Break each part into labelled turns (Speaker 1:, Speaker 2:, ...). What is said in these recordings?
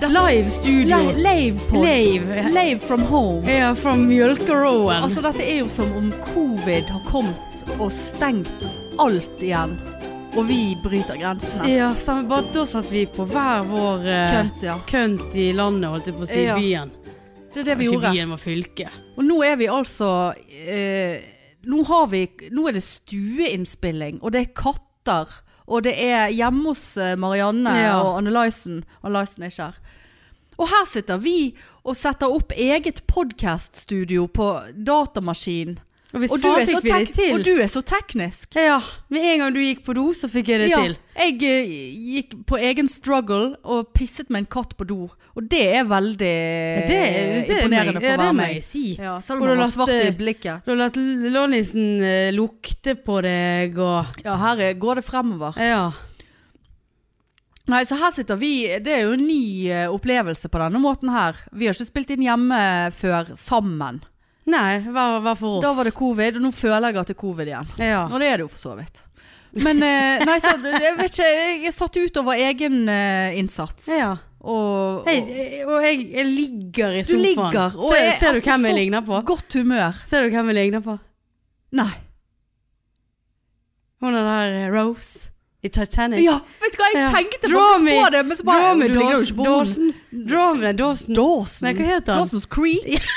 Speaker 1: Live studio.
Speaker 2: Live, live, pod.
Speaker 1: Live.
Speaker 2: Live from home.
Speaker 1: Ja, fra Mjølkeråen.
Speaker 2: Altså, dette er jo som om covid har kommet og stengt alt igjen. Og vi bryter grensene.
Speaker 1: ja, stemmer. Bare da satt vi på hver vår eh,
Speaker 2: Kønt, ja.
Speaker 1: kønt i landet, holdt jeg på å si.
Speaker 2: Ja.
Speaker 1: Byen.
Speaker 2: Det er det vi
Speaker 1: Ikke
Speaker 2: gjorde.
Speaker 1: byen, var fylket.
Speaker 2: Og nå er vi altså eh, nå, har vi, nå er det stueinnspilling, og det er katter. Og det er hjemme hos eh, Marianne
Speaker 1: Ja.
Speaker 2: og Annelaisen. Annelaisen er ikke her. Og her sitter vi og setter opp eget podkaststudio på datamaskin.
Speaker 1: Og hvis
Speaker 2: Og du, er
Speaker 1: faen
Speaker 2: så
Speaker 1: fikk vi det
Speaker 2: tek-
Speaker 1: til.
Speaker 2: og du er så teknisk.
Speaker 1: Ja, med en gang du gikk på do, så fikk jeg det til.
Speaker 2: Jeg eh, gikk på egen struggle og pisset med en katt på do. Og det er veldig Eh,
Speaker 1: må-
Speaker 2: imponerende for
Speaker 1: ja,
Speaker 2: å
Speaker 1: det
Speaker 2: være
Speaker 1: må jeg
Speaker 2: meg.
Speaker 1: si.
Speaker 2: Ja, selv
Speaker 1: Og du
Speaker 2: om man
Speaker 1: har
Speaker 2: var svart i
Speaker 1: latt, eh,
Speaker 2: blikket.
Speaker 1: Du har latt Lonnisen eh, lukte på deg og
Speaker 2: Ja, her er, går det fremover.
Speaker 1: Ja.
Speaker 2: Nei, så her sitter vi. Det er jo en ny eh, opplevelse på denne måten her. Vi har ikke spilt inn hjemme eh, før sammen.
Speaker 1: Nei, hver, hver for oss.
Speaker 2: Da var det covid, og nå føler jeg at det er covid igjen.
Speaker 1: ja.
Speaker 2: Og det er det jo for så vidt. Men eh, nei, så jeg vet ikke. Jeg er satt ut over egen eh, innsats.
Speaker 1: ja.
Speaker 2: Og, og
Speaker 1: Hei, eh, og jeg, jeg ligger i
Speaker 2: du
Speaker 1: sofaen.
Speaker 2: ligger og
Speaker 1: ser,
Speaker 2: er
Speaker 1: ser du
Speaker 2: altså
Speaker 1: hvem jeg
Speaker 2: så
Speaker 1: ligner på?
Speaker 2: Godt humør.
Speaker 1: Ser du hvem jeg ligner på?
Speaker 2: Nei.
Speaker 1: Hun er der eh, Rose i Titanic.
Speaker 2: Ja, vet du hva, jeg
Speaker 1: Ja.
Speaker 2: tenkte
Speaker 1: Draw
Speaker 2: faktisk
Speaker 1: me-
Speaker 2: på det, men så bare
Speaker 1: Draw me
Speaker 2: Du ligner jo
Speaker 1: Dawson.
Speaker 2: ikke på henne.
Speaker 1: Dawson. Draw me Dawson.
Speaker 2: Dawson.
Speaker 1: Nei, hva heter han?
Speaker 2: Dawson's Creek.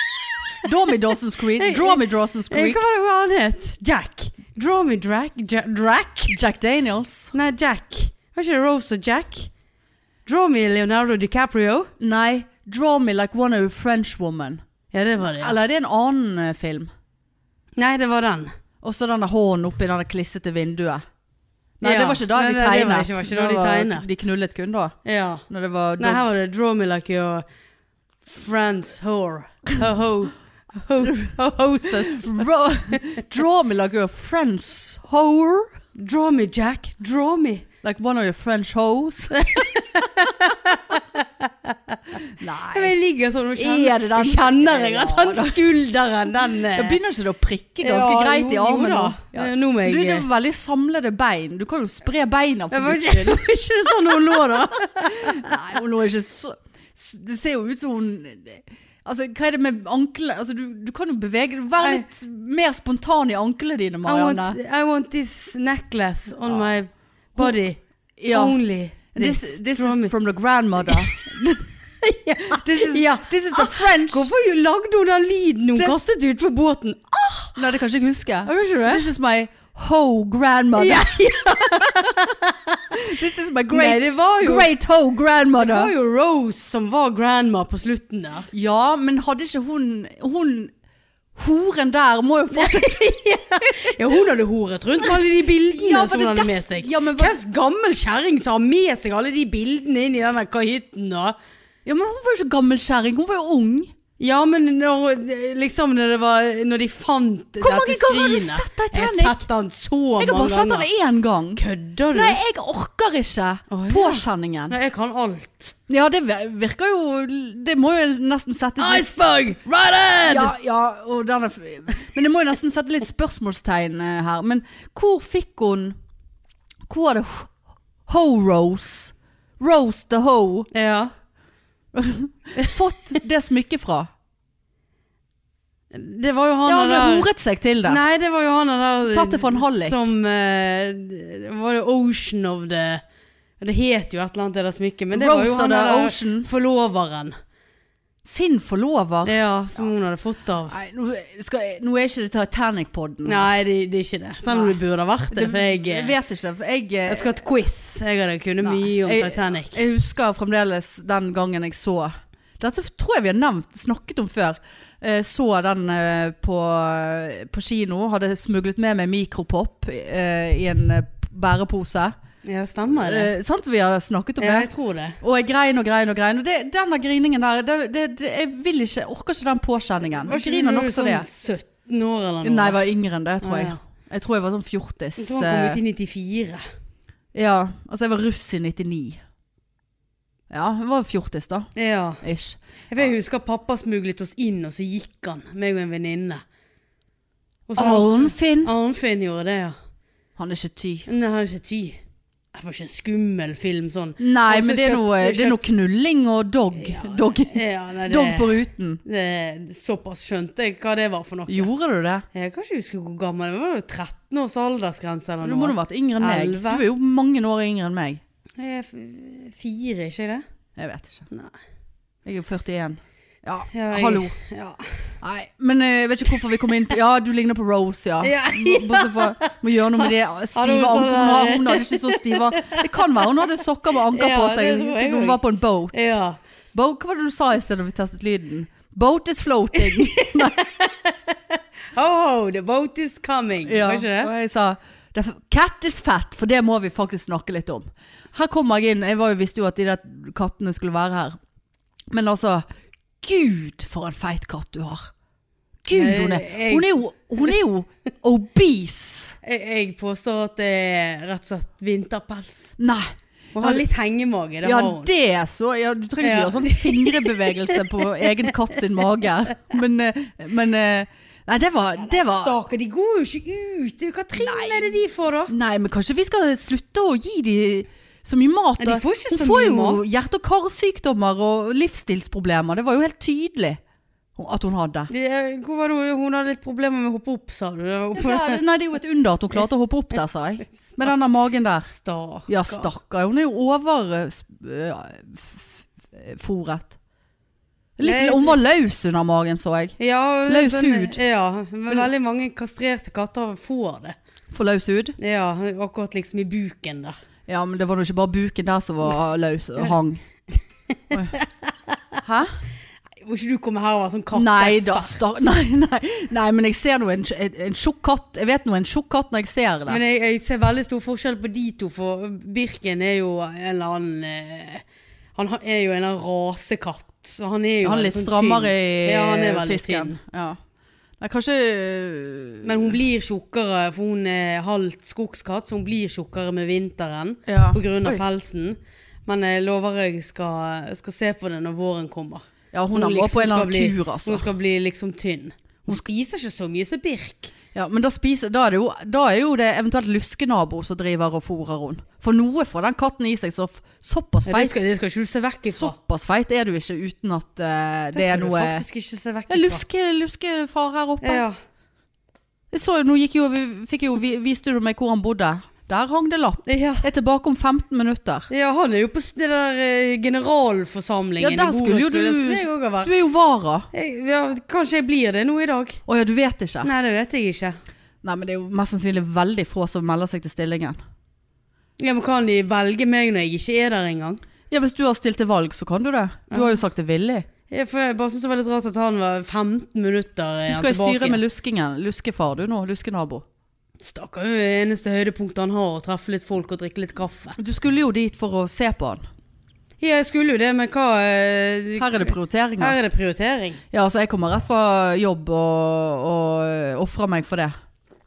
Speaker 2: Draw me Dawson's Creek. Draw me Dawson's
Speaker 1: Eh,
Speaker 2: Creek.
Speaker 1: Hva var det han het? Jack. Draw me Drac. Ja, Drac?
Speaker 2: Jack Daniels.
Speaker 1: Nei, Jack. Var ikke det Rose og Jack? Draw me Leonardo DiCaprio.
Speaker 2: Nei, Draw me like one of a French woman.
Speaker 1: Ja, det var det.
Speaker 2: Eller er det en annen eh, film?
Speaker 1: Nei, det var den.
Speaker 2: Og så denne hånden oppi det klissete vinduet. Nei,
Speaker 1: Ja.
Speaker 2: det var ikke da
Speaker 1: Nei, nei,
Speaker 2: de
Speaker 1: det var
Speaker 2: tegnet.
Speaker 1: ikke- var ikke da de
Speaker 2: var-
Speaker 1: tegnet.
Speaker 2: de knullet kun da.
Speaker 1: Ja.
Speaker 2: Når det var
Speaker 1: Nei, her var det Draw Me Like Your Friends Whore. Ho-ho. Ho-hoses.
Speaker 2: Ro- Draw me like a French whore.
Speaker 1: Draw me, Jack. Draw me.
Speaker 2: Like one of your French hoes.
Speaker 1: Men
Speaker 2: Nei.
Speaker 1: Jeg ligger sånn og kjenner,
Speaker 2: Er det den?
Speaker 1: Jeg kjenner jeg at han
Speaker 2: Ja, da.
Speaker 1: skulderen, den eh,
Speaker 2: Da begynner ikke det å prikke ganske
Speaker 1: ja,
Speaker 2: greit
Speaker 1: jo,
Speaker 2: i
Speaker 1: jo
Speaker 2: armen
Speaker 1: da.
Speaker 2: nå. Ja.
Speaker 1: Eh, Nå må
Speaker 2: Du,
Speaker 1: jeg
Speaker 2: det
Speaker 1: eh,
Speaker 2: er veldig samlede bein. Du kan jo spre beina for
Speaker 1: jeg var
Speaker 2: guds
Speaker 1: ikke, var ikke det sånn hun lå da?
Speaker 2: Nei, hun lå ikke så s- Det ser jo ut som hun Altså, hva er det med anklene? Altså, du, du kan jo bevege Vær
Speaker 1: Nei.
Speaker 2: litt mer spontan i anklene dine,
Speaker 1: I want,
Speaker 2: Marianne.
Speaker 1: I want this necklace on
Speaker 2: Ja.
Speaker 1: my body.
Speaker 2: Ja.
Speaker 1: Only this.
Speaker 2: This, this
Speaker 1: Draw me.
Speaker 2: is from the grandmother. This is,
Speaker 1: Ja.
Speaker 2: this is the French
Speaker 1: Hvorfor jo- lagde hun den lyden hun
Speaker 2: Det-
Speaker 1: kastet ut på båten?
Speaker 2: Nei, det kan ikke jeg huske.
Speaker 1: Ah, Gjør ikke det?
Speaker 2: This is my ho grandmother.
Speaker 1: Ja,
Speaker 2: This is my
Speaker 1: Nei,
Speaker 2: great,
Speaker 1: det var jo
Speaker 2: great ho
Speaker 1: Det var
Speaker 2: grandmother.
Speaker 1: jo Rose som var grandma på slutten der.
Speaker 2: Ja, men hadde ikke hun Hun horen der må jo fått
Speaker 1: Ja, hun hadde horet rundt med alle de bildene
Speaker 2: Ja, var
Speaker 1: som
Speaker 2: det
Speaker 1: hun hadde
Speaker 2: derf-
Speaker 1: med seg.
Speaker 2: Ja, men hva-
Speaker 1: Hvem gammel kjerring som har med seg alle de bildene inn i den der kahytten og
Speaker 2: Ja, men hun var jo ikke gammel kjerring, hun var jo ung.
Speaker 1: Ja, men når, liksom når det var Når de fant
Speaker 2: Hvor mange
Speaker 1: dette skrinet
Speaker 2: ganger har du sett Titanic?
Speaker 1: Jeg har sett den så mange
Speaker 2: Jeg har
Speaker 1: ganger.
Speaker 2: bare sett den én gang.
Speaker 1: Kødder du?
Speaker 2: Nei, jeg orker ikke
Speaker 1: Å, ja.
Speaker 2: påkjenningen.
Speaker 1: Nei, jeg kan alt.
Speaker 2: Ja, det virker jo Det må jo nesten sette litt
Speaker 1: Iceberg! Right in!
Speaker 2: ja, ja, og den er f- Men det må jo nesten sette litt spørsmålstegn eh, her. Men hvor fikk hun Hvor er det h- Ho-Rose? Rose the Ho?
Speaker 1: Ja.
Speaker 2: Fått det smykket fra?
Speaker 1: Det var jo han
Speaker 2: Ja, han har
Speaker 1: der-
Speaker 2: horet seg til det.
Speaker 1: Nei, det var jo han der
Speaker 2: Tatt det fra en hallik.
Speaker 1: Som eh, det Var det Ocean of the Det het jo et eller annet det der smykket, men det var jo
Speaker 2: Rose
Speaker 1: han
Speaker 2: of the
Speaker 1: der
Speaker 2: Ocean. Ah,
Speaker 1: forloveren.
Speaker 2: Sin forlover.
Speaker 1: Ja, som hun hadde fått av.
Speaker 2: Nei, nå, skal, jeg- nå er ikke det Titanic-podden.
Speaker 1: Nei, det, det er ikke det. Selv om
Speaker 2: Mm. Nei.
Speaker 1: det burde ha vært det, for jeg
Speaker 2: Jeg
Speaker 1: eh,
Speaker 2: vet ikke. for Jeg,
Speaker 1: Jeg skal ha et quiz. Jeg hadde kunnet
Speaker 2: Nei.
Speaker 1: mye om
Speaker 2: Jeg-
Speaker 1: Titanic.
Speaker 2: Jeg husker fremdeles den gangen jeg så Dette tror jeg vi har nevnt, snakket om før. Eh, Så den eh, på, eh, på kino. Hadde smuglet med meg mikropop eh, i en eh, bærepose.
Speaker 1: Ja, stemmer det?
Speaker 2: Eh, sant vi har snakket om
Speaker 1: Ja,
Speaker 2: det?
Speaker 1: jeg tror det.
Speaker 2: Og jeg grein og grein og grein. Og det, denne griningen der, det, det, det, jeg vil ikke, orker ikke den påkjenningen.
Speaker 1: Var
Speaker 2: Jeg
Speaker 1: ikke du
Speaker 2: griner nokså
Speaker 1: sånn
Speaker 2: det.
Speaker 1: 17 år eller noe?
Speaker 2: Nei, jeg var yngre enn det, tror
Speaker 1: Ah,
Speaker 2: jeg.
Speaker 1: ja.
Speaker 2: Jeg tror jeg var sånn
Speaker 1: Jeg
Speaker 2: fjortis.
Speaker 1: tror han kom ut i 94.
Speaker 2: eh, Ja, altså jeg var russ i 99. Ja, jeg var fjortis da.
Speaker 1: Ja.
Speaker 2: Ish.
Speaker 1: Jeg vet, jeg husker pappa smuglet oss inn, og så gikk han, meg og en venninne. Og så-
Speaker 2: Arnfinn?
Speaker 1: Arnfinn gjorde det, ja.
Speaker 2: Han er ikke ty.
Speaker 1: Nei, han er ikke ty. Det var ikke en skummel film sånn.
Speaker 2: Nei,
Speaker 1: Og så
Speaker 2: men det er,
Speaker 1: kjøpt-
Speaker 2: noe, det er noe knulling og dog. Dog,
Speaker 1: Ja, nei, det,
Speaker 2: dog på ruten.
Speaker 1: det, såpass skjønte jeg hva det var for noe.
Speaker 2: Gjorde du det?
Speaker 1: Jeg kan ikke huske hvor gammel jeg var. Det var jo 13 års aldersgrense eller
Speaker 2: Du
Speaker 1: noe.
Speaker 2: må nå ha vært yngre enn meg.
Speaker 1: Elleve.
Speaker 2: Du er jo mange år yngre enn meg.
Speaker 1: Jeg er f- fire, ikke det?
Speaker 2: Jeg vet ikke.
Speaker 1: Nei.
Speaker 2: Jeg er jo 41. Ja,
Speaker 1: Ja, jeg-
Speaker 2: hallo.
Speaker 1: Ja.
Speaker 2: Nei, men eh, jeg vet ikke hvorfor vi kom inn på Ja, du ligner på Rose, ja.
Speaker 1: Ja,
Speaker 2: Bortsett fra Må gjøre noe med det stive
Speaker 1: sånn
Speaker 2: ankeret. Hun,
Speaker 1: der-
Speaker 2: har- hun hadde ikke så stive Det kan være hun hadde sokker med anker på
Speaker 1: Ja, det tror
Speaker 2: seg
Speaker 1: jeg
Speaker 2: siden hun
Speaker 1: også.
Speaker 2: var på en boat.
Speaker 1: ja.
Speaker 2: boat. Hva var det du sa i sted da vi testet lyden? Boat is floating.
Speaker 1: Oh, the boat is coming.
Speaker 2: Ja,
Speaker 1: Var ikke det?
Speaker 2: og jeg sa "Derfor- Cat is fat, for det må vi faktisk snakke litt om. Her kommer jeg inn. Jeg var jo, visste jo at de der kattene skulle være her. Men altså Gud, for en feit katt du har. Gud, hun er, hun er, jo, hun er jo obese.
Speaker 1: Jeg, jeg påstår at det er rett og slett vinterpels.
Speaker 2: Nei.
Speaker 1: Hun har litt hengemage, det har
Speaker 2: Ja,
Speaker 1: hun.
Speaker 2: det så ja, Du trenger ikke
Speaker 1: Ja.
Speaker 2: gjøre sånn fingrebevegelse på egen katt sin mage. Men, eh, men eh, Nei, det var, det var
Speaker 1: Stakkar, de går jo ikke ut. Hva trinn er det de får, da?
Speaker 2: Nei, men kanskje vi skal slutte å gi de så mye mat.
Speaker 1: Men
Speaker 2: da.
Speaker 1: de får ikke
Speaker 2: Hun
Speaker 1: så
Speaker 2: får
Speaker 1: mye
Speaker 2: jo
Speaker 1: mat.
Speaker 2: hjerte- og karsykdommer og livsstilsproblemer. Det var jo helt tydelig at hun hadde.
Speaker 1: Det er- eh, Hvor var det hun- hun hadde litt problemer med å hoppe opp, sa du? Det var oppe-
Speaker 2: Ja, nei, det er jo et under at hun klarte å hoppe opp der, sa jeg. Med denne magen der.
Speaker 1: Stakkar.
Speaker 2: Ja, stakkar. Hun er jo eh, overfòret.
Speaker 1: Nei,
Speaker 2: Litt, hun var løs under magen, så jeg.
Speaker 1: Ja, det er sånn-
Speaker 2: Løs hud. Mm.
Speaker 1: Ja, men veldig mange kastrerte katter får det.
Speaker 2: For løs hud.
Speaker 1: Ja, akkurat liksom i buken der.
Speaker 2: Ja, men det var nå ikke bare buken der som var løs og hang. Oi. Hæ?
Speaker 1: Må ikke du komme her og være sånn katteekspert?
Speaker 2: Nei da, star nei, nei, nei, men jeg ser nå en, en, en tjukk katt. Jeg vet nå en tjukk katt når jeg ser det.
Speaker 1: Men jeg, jeg ser veldig stor forskjell på de to, for Birken er jo en eller annen eh, Han ha- er jo en eller annen rasekatt. Så han er jo
Speaker 2: han er
Speaker 1: veldig
Speaker 2: litt
Speaker 1: sånn
Speaker 2: strammere
Speaker 1: tynn.
Speaker 2: i
Speaker 1: Ja, han er veldig
Speaker 2: fisken. Ja. Nei, kanskje øh,
Speaker 1: Men hun blir tjukkere, for hun er halvt skogskatt, så hun blir tjukkere med vinteren
Speaker 2: ja.
Speaker 1: på grunn av
Speaker 2: Oi.
Speaker 1: pelsen. Men jeg lover jeg skal, skal se på det når våren kommer.
Speaker 2: Ja, hun har
Speaker 1: Hun
Speaker 2: vært på
Speaker 1: liksom
Speaker 2: en eller
Speaker 1: skal
Speaker 2: annen
Speaker 1: bli-
Speaker 2: kur, altså.
Speaker 1: Hun skal bli liksom tynn. Hun spiser ikke så mye som Birk.
Speaker 2: Ja, men da, spiser, da, er det jo, da er jo det eventuelt luskenabo som driver og fôrer henne. For noe får den katten i seg, så f- såpass
Speaker 1: Ja, det,
Speaker 2: feit,
Speaker 1: skal, det skal ikke du se vekk ifra.
Speaker 2: såpass feit er du ikke uten at øh,
Speaker 1: Det,
Speaker 2: det er
Speaker 1: skal
Speaker 2: noe
Speaker 1: du faktisk ikke se vekk
Speaker 2: ja, luske, Luskefar her oppe.
Speaker 1: Ja.
Speaker 2: Jeg så jo, nå gikk jo, vi- fikk jo, vi- viste du meg hvor han bodde. Der hang det lapp.
Speaker 1: Ja.
Speaker 2: Jeg er tilbake om 15 minutter.
Speaker 1: ja, han er jo på s- det der eh, generalforsamlingen.
Speaker 2: Ja,
Speaker 1: i
Speaker 2: der skulle jo
Speaker 1: Borettslag. Det
Speaker 2: du-
Speaker 1: skulle jeg også ha vært.
Speaker 2: Du er jo vara.
Speaker 1: Jeg- Ja, kanskje jeg blir det nå i dag.
Speaker 2: Å ja, du vet ikke.
Speaker 1: Nei, det vet jeg ikke.
Speaker 2: Nei, men det er jo mest sannsynlig veldig få som melder seg til stillingen.
Speaker 1: Ja, men Kan de velge meg når jeg ikke er der engang?
Speaker 2: Ja, hvis du har stilt til valg, så kan du det. Du har jo sagt det villig.
Speaker 1: Ja, for jeg bare synes det var litt rart at han var 15 minutter eh,
Speaker 2: Du
Speaker 1: han
Speaker 2: skal jo
Speaker 1: tilbake.
Speaker 2: styre med luskingen. Luskefar du nå, luskenabo.
Speaker 1: Stakkar, det er eneste høydepunktet han har, å treffe litt folk og drikke litt kaffe.
Speaker 2: Du skulle jo dit for å se på han.
Speaker 1: Ja, jeg skulle jo det, men hva eh,
Speaker 2: Her er det prioriteringer.
Speaker 1: her er det prioritering.
Speaker 2: Ja, altså jeg kommer rett fra jobb og, og offrer meg for det.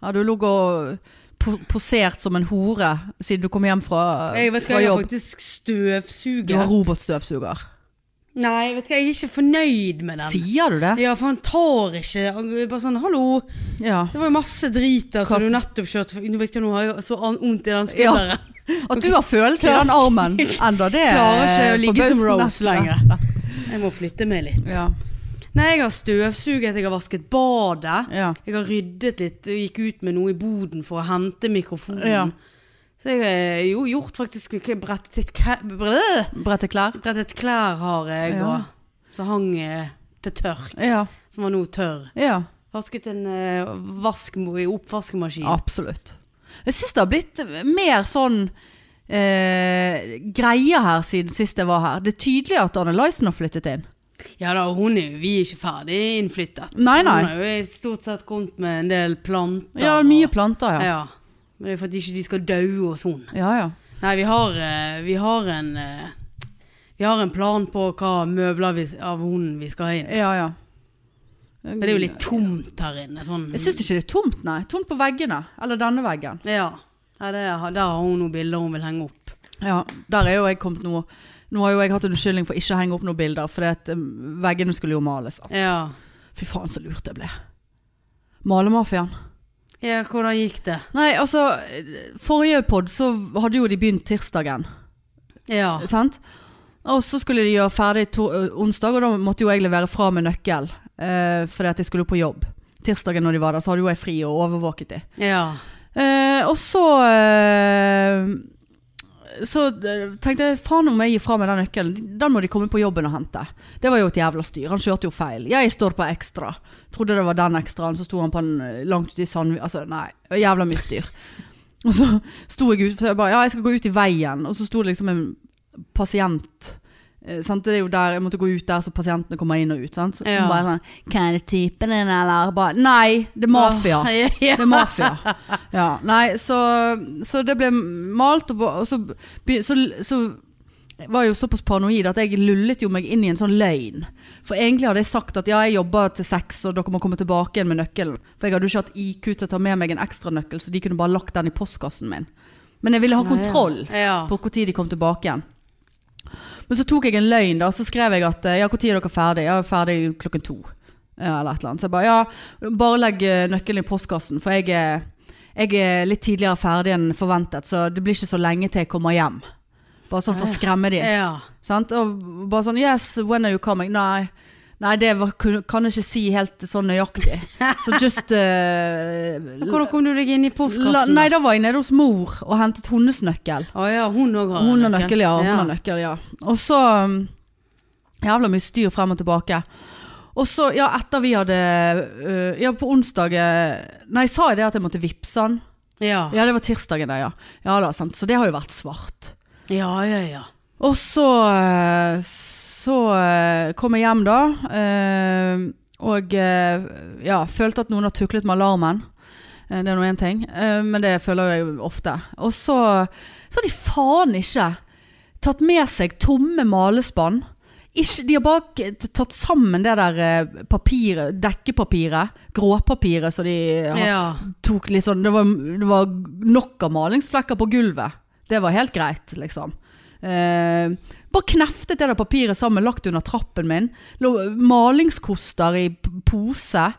Speaker 2: Ja, du lå og po- posert som en hore siden du kom hjem fra,
Speaker 1: Jeg vet hva,
Speaker 2: fra
Speaker 1: jeg har
Speaker 2: jobb.
Speaker 1: faktisk
Speaker 2: Du har
Speaker 1: støvsuger.
Speaker 2: robotstøvsuger.
Speaker 1: Nei, vet du hva, jeg er ikke fornøyd med den.
Speaker 2: Sier du det?
Speaker 1: Ja, for han tar ikke han er Bare sånn, hallo,
Speaker 2: Ja.
Speaker 1: det var jo masse drit der
Speaker 2: Hva-
Speaker 1: som du nettopp kjørte for- Nå vet ikke, nå har jeg så an- vondt i den skulderen.
Speaker 2: At du har følelse i
Speaker 1: Klar-
Speaker 2: den armen enda det
Speaker 1: Klarer ikke å
Speaker 2: er
Speaker 1: ligge som
Speaker 2: forbausende.
Speaker 1: Rose lenger. Jeg må flytte meg litt.
Speaker 2: Ja,
Speaker 1: Nei, jeg har støvsuget, jeg har vasket badet.
Speaker 2: ja.
Speaker 1: Jeg har ryddet litt og gikk ut med noe i boden for å hente mikrofonen.
Speaker 2: Ja.
Speaker 1: Så jeg har jo gjort faktisk ikke brettet, litt kæ- brød.
Speaker 2: Brette klær.
Speaker 1: brettet klær har jeg,
Speaker 2: Ja.
Speaker 1: og så hang eh, til tørk,
Speaker 2: Ja,
Speaker 1: som var nå tørr.
Speaker 2: ja.
Speaker 1: Vasket en eh, vask i oppvaskemaskinen.
Speaker 2: Absolutt. Jeg syns det har blitt mer sånn eh, greier her siden sist jeg var her. Det er tydelig at Annelisen har flyttet inn.
Speaker 1: Ja da, hun er, jo- vi er ikke ferdig innflyttet.
Speaker 2: Nei, nei.
Speaker 1: Hun har jo stort sett kommet med en del planter.
Speaker 2: Ja, mye planter, ja.
Speaker 1: Ja. Men det er for at ikke de skal daue hos hun.
Speaker 2: Ja, ja.
Speaker 1: Nei, vi har, eh, vi har en eh, Vi har en plan på hva møbler vi, av hunden vi skal ha inn.
Speaker 2: ja, ja.
Speaker 1: Men det er jo litt tomt her inne. Sånn.
Speaker 2: Jeg syns ikke det er tomt, nei. Tomt på veggene. Eller denne veggen.
Speaker 1: Ja. ja det, er- der har hun noen bilder hun vil henge opp.
Speaker 2: Ja, der er jo jeg kommet nå. Nå har jo jeg hatt en unnskyldning for ikke å henge opp noen bilder, eh, for veggene skulle jo males.
Speaker 1: Ja.
Speaker 2: Fy faen så lurt det ble. Malemafiaen.
Speaker 1: Ja, hvordan gikk det?
Speaker 2: Nei, altså, forrige podd så hadde jo de begynt tirsdagen,
Speaker 1: Ja.
Speaker 2: sant? Og så skulle de gjøre ferdig to onsdag, og da måtte jo jeg levere fra med nøkkel, eh, fordi at jeg skulle på jobb. Tirsdagen når de var der, så hadde jo jeg fri og overvåket de.
Speaker 1: Ja.
Speaker 2: Eh, og så eh, Så eh, tenkte jeg faen om jeg gir fra meg den nøkkelen. Den må de komme på jobben og hente. Det var jo et jævla styr. Han kjørte jo feil. Jeg står på ekstra. Trodde det var den ekstraen, så sto han på en eh, langt ute i Sandvik. Altså, nei. Jævla mye styr. Og så sto jeg ute, så jeg bare Ja, jeg skal gå ut i veien. Og så sto det liksom en pasient. eh, Sant? Det er jo der, Jeg måtte gå ut der så pasientene kommer inn og ut. Sant? Så
Speaker 1: Ja.
Speaker 2: bare sånn, Hva er det typen din, eller? Bare, Nei, det er mafia.
Speaker 1: Ja.
Speaker 2: Det er mafia. Ja, nei, så, så det ble malt, og, og så, be- så, så var jeg jo såpass paranoid at jeg lullet jo meg inn i en sånn løgn. For egentlig hadde jeg sagt at ja, jeg jobber til seks, og dere må komme tilbake igjen med nøkkelen. For jeg hadde jo ikke hatt IQ til å ta med meg en ekstra nøkkel, så de kunne bare lagt den i postkassen min. Men jeg ville ha kontroll
Speaker 1: Ja.
Speaker 2: på når de kom tilbake igjen. Men så tok jeg en løgn, da. Så skrev jeg at eh, ja, når er dere ferdig? Ja, ferdig klokken to. Ja, eller et eller annet. Så jeg bare ja, bare legg eh, nøkkelen i postkassen, for jeg er, jeg er litt tidligere ferdig enn forventet, så det blir ikke så lenge til jeg kommer hjem. Bare sånn for å skremme de.
Speaker 1: Ah, ja. Eh.
Speaker 2: Sant? Og bare sånn Yes, when are you coming? Nei. Nei, det var, kun- kan jeg ikke si helt sånn nøyaktig. Så just eh,
Speaker 1: Hvordan kom du deg inn i
Speaker 2: la,
Speaker 1: postkassen?
Speaker 2: Nei, da var jeg nede hos mor og hentet hennes nøkkel.
Speaker 1: Å ja, hun òg har
Speaker 2: Hun har nøkkel, ja. Hun har nøkkel, ja. Og så um, jævla mye styr frem og tilbake. Og så, ja, etter vi hadde øh, Ja, på onsdag eh, Nei, sa jeg det at jeg måtte vippse han?
Speaker 1: Ja.
Speaker 2: Ja, det var tirsdagen, det, ja. Ja da, sant. Så det har jo vært svart.
Speaker 1: Ja, ja, ja.
Speaker 2: Og så eh, Så eh, kom jeg hjem, da. eh, og eh, ja, følte at noen har tuklet med alarmen. Eh, Det er nå én ting, eh, men det føler jeg jo ofte. Og så så har de faen ikke tatt med seg tomme malespann. Ikke, de har bare k- t- tatt sammen det der eh, papiret, dekkepapiret, gråpapiret som de har
Speaker 1: ja.
Speaker 2: tok litt sånn det var, det var nok av malingsflekker på gulvet. Det var helt greit, liksom. Eh, bare kneftet det der papiret sammen, lagt under trappen min. Lå, malingskoster i p- pose.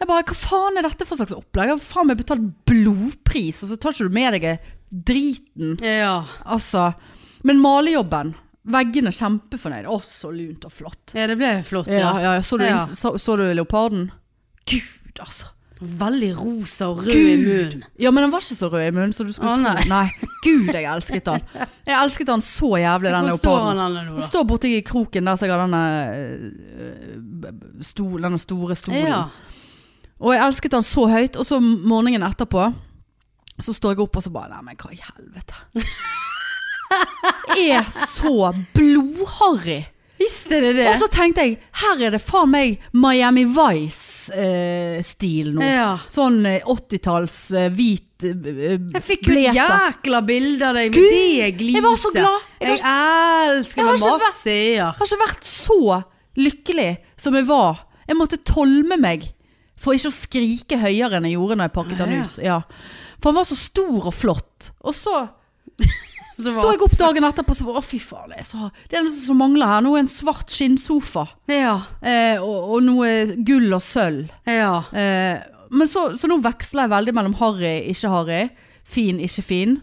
Speaker 2: Jeg bare, Hva faen er dette for slags opplegg? Jeg har faen meg betalt blodpris, og så tar ikke du med deg driten.
Speaker 1: ja.
Speaker 2: Altså. Men malejobben. Veggene kjempefornøyd. Å, så lunt og flott.
Speaker 1: Ja, det ble flott.
Speaker 2: Ja,
Speaker 1: Ja.
Speaker 2: ja, ja. Så, du,
Speaker 1: Ja.
Speaker 2: Så, så du leoparden? Gud, altså.
Speaker 1: Veldig rosa og rød i
Speaker 2: Gud!
Speaker 1: munnen.
Speaker 2: Ja, men han var ikke så rød i munnen som du skulle
Speaker 1: Å,
Speaker 2: tro.
Speaker 1: nei.
Speaker 2: Gud, jeg elsket han. Jeg elsket han så jævlig, den
Speaker 1: Hvor står han
Speaker 2: leoparden.
Speaker 1: henne nå,
Speaker 2: Han
Speaker 1: da?
Speaker 2: står borti kroken der som jeg har denne, øh, øh, stol, denne store stolen.
Speaker 1: Ja.
Speaker 2: Og jeg elsket han så høyt, og så morgenen etterpå så står jeg opp og så bare Nei, men hva i helvete? Jeg er så blodharry.
Speaker 1: Visste det det?
Speaker 2: Og så tenkte jeg, her er det faen meg Miami Vice-stil nå.
Speaker 1: Ja.
Speaker 2: Sånn eh, 80-talls eh, hvit eh, eh,
Speaker 1: Jeg fikk jo et
Speaker 2: blazer.
Speaker 1: jækla bilde av deg med
Speaker 2: Gud,
Speaker 1: det gliset.
Speaker 2: jeg var så glad. Jeg
Speaker 1: Jeg, elsker
Speaker 2: Jeg
Speaker 1: meg
Speaker 2: har ikke vært-
Speaker 1: masse
Speaker 2: Jeg
Speaker 1: eier.
Speaker 2: har ikke vært så lykkelig som jeg var. Jeg måtte tolme meg for ikke å skrike høyere enn jeg gjorde når jeg pakket
Speaker 1: Ja,
Speaker 2: han
Speaker 1: ja.
Speaker 2: ut. Ja. For han var så stor og flott. Og så
Speaker 1: Så
Speaker 2: står
Speaker 1: var-
Speaker 2: jeg opp dagen etterpå og så bare, å fy faen, det er så Det er noe som mangler her nå, er en svart skinnsofa.
Speaker 1: Ja.
Speaker 2: Eh, og, og noe gull og sølv.
Speaker 1: Ja.
Speaker 2: Eh, men så, så nå veksler jeg veldig mellom harry, ikke harry, fin, ikke fin.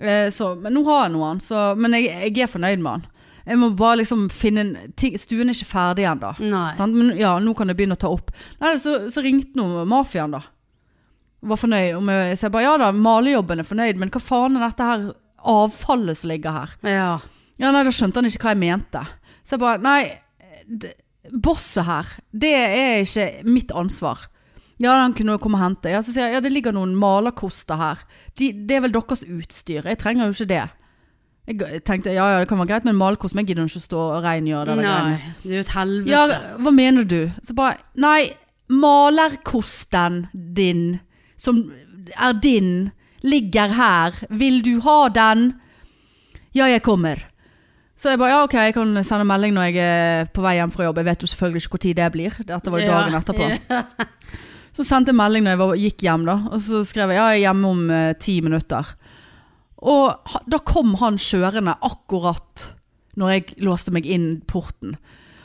Speaker 2: Eh, så, men nå har jeg noen, så, men jeg, jeg er fornøyd med han. Jeg må bare liksom finne en ting, Stuen er ikke ferdig ennå.
Speaker 1: Nei.
Speaker 2: Sant? Men ja, nå kan jeg begynne å ta opp. Nei, så, så ringte nå mafiaen, da. Var fornøyd. Og med, så jeg bare ja da, malejobben er fornøyd, men hva faen er dette her avfallet som ligger her?
Speaker 1: Ja.
Speaker 2: Ja, nei, da skjønte han ikke hva jeg mente. Så jeg bare, nei, d- bosset her, det er ikke mitt ansvar. Ja, han kunne jo komme og hente. Ja, så sier jeg, ja, det ligger noen malerkoster her. De, det er vel deres utstyr, jeg trenger jo ikke det. Jeg g- tenkte, ja, ja, det kan være greit med en malerkost, men jeg gidder jo ikke stå og rengjøre det. der
Speaker 1: Nei.
Speaker 2: greiene.
Speaker 1: Det er jo et helvete.
Speaker 2: Ja, hva mener du? Så bare, nei, malerkosten din, som er din, ligger her. Vil du ha den? Ja, jeg kommer. Så jeg bare, ja ok, jeg kan sende melding når jeg er på vei hjem fra jobb. Jeg vet jo selvfølgelig ikke hvor tid det blir. Dette var jo dagen
Speaker 1: Ja.
Speaker 2: etterpå. Så sendte jeg melding når jeg var, gikk hjem da, og så skrev jeg, ja, jeg er hjemme om eh, ti minutter. Og ha- da kom han kjørende akkurat når jeg låste meg inn porten.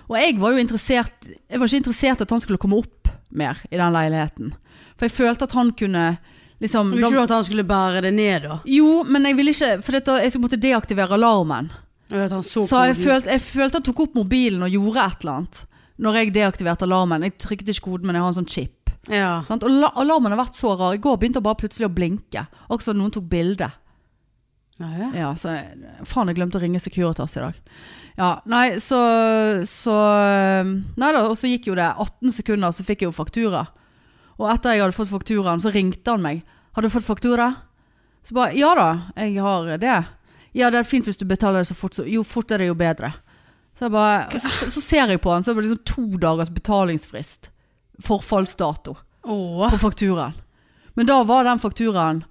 Speaker 2: Og jeg var jo interessert, jeg var ikke interessert at han skulle komme opp mer i den leiligheten. For jeg følte at han kunne liksom
Speaker 1: Tror ikke du at han skulle bære det ned, da?
Speaker 2: Jo, men jeg ville ikke For dette, jeg måtte deaktivere alarmen.
Speaker 1: Og At han så,
Speaker 2: Så jeg
Speaker 1: koden.
Speaker 2: følte, jeg følte han tok opp mobilen og gjorde et eller annet. Når jeg deaktiverte alarmen. Jeg trykket ikke koden, men jeg har en sånn chip.
Speaker 1: ja.
Speaker 2: Sant? Og la, alarmen har vært så rar. I går begynte den bare plutselig å blinke. Akkurat som noen tok bilde.
Speaker 1: Ja, ja.
Speaker 2: Ja, så jeg- faen, jeg glemte å ringe Securitas i dag. Ja, nei, så, så ehm, Nei da, og så gikk jo det 18 sekunder, så fikk jeg jo faktura. Og etter jeg hadde fått fakturaen, så ringte han meg. 'Har du fått faktura?' Så bare 'Ja da, jeg har det'. 'Ja, det er fint hvis du betaler det så fort, så jo fort er det jo bedre'. Så, jeg bare, og så, så ser jeg på han, så er det liksom to dagers betalingsfrist. Forfallsdato
Speaker 1: Åh.
Speaker 2: på fakturaen. Men da var den fakturaen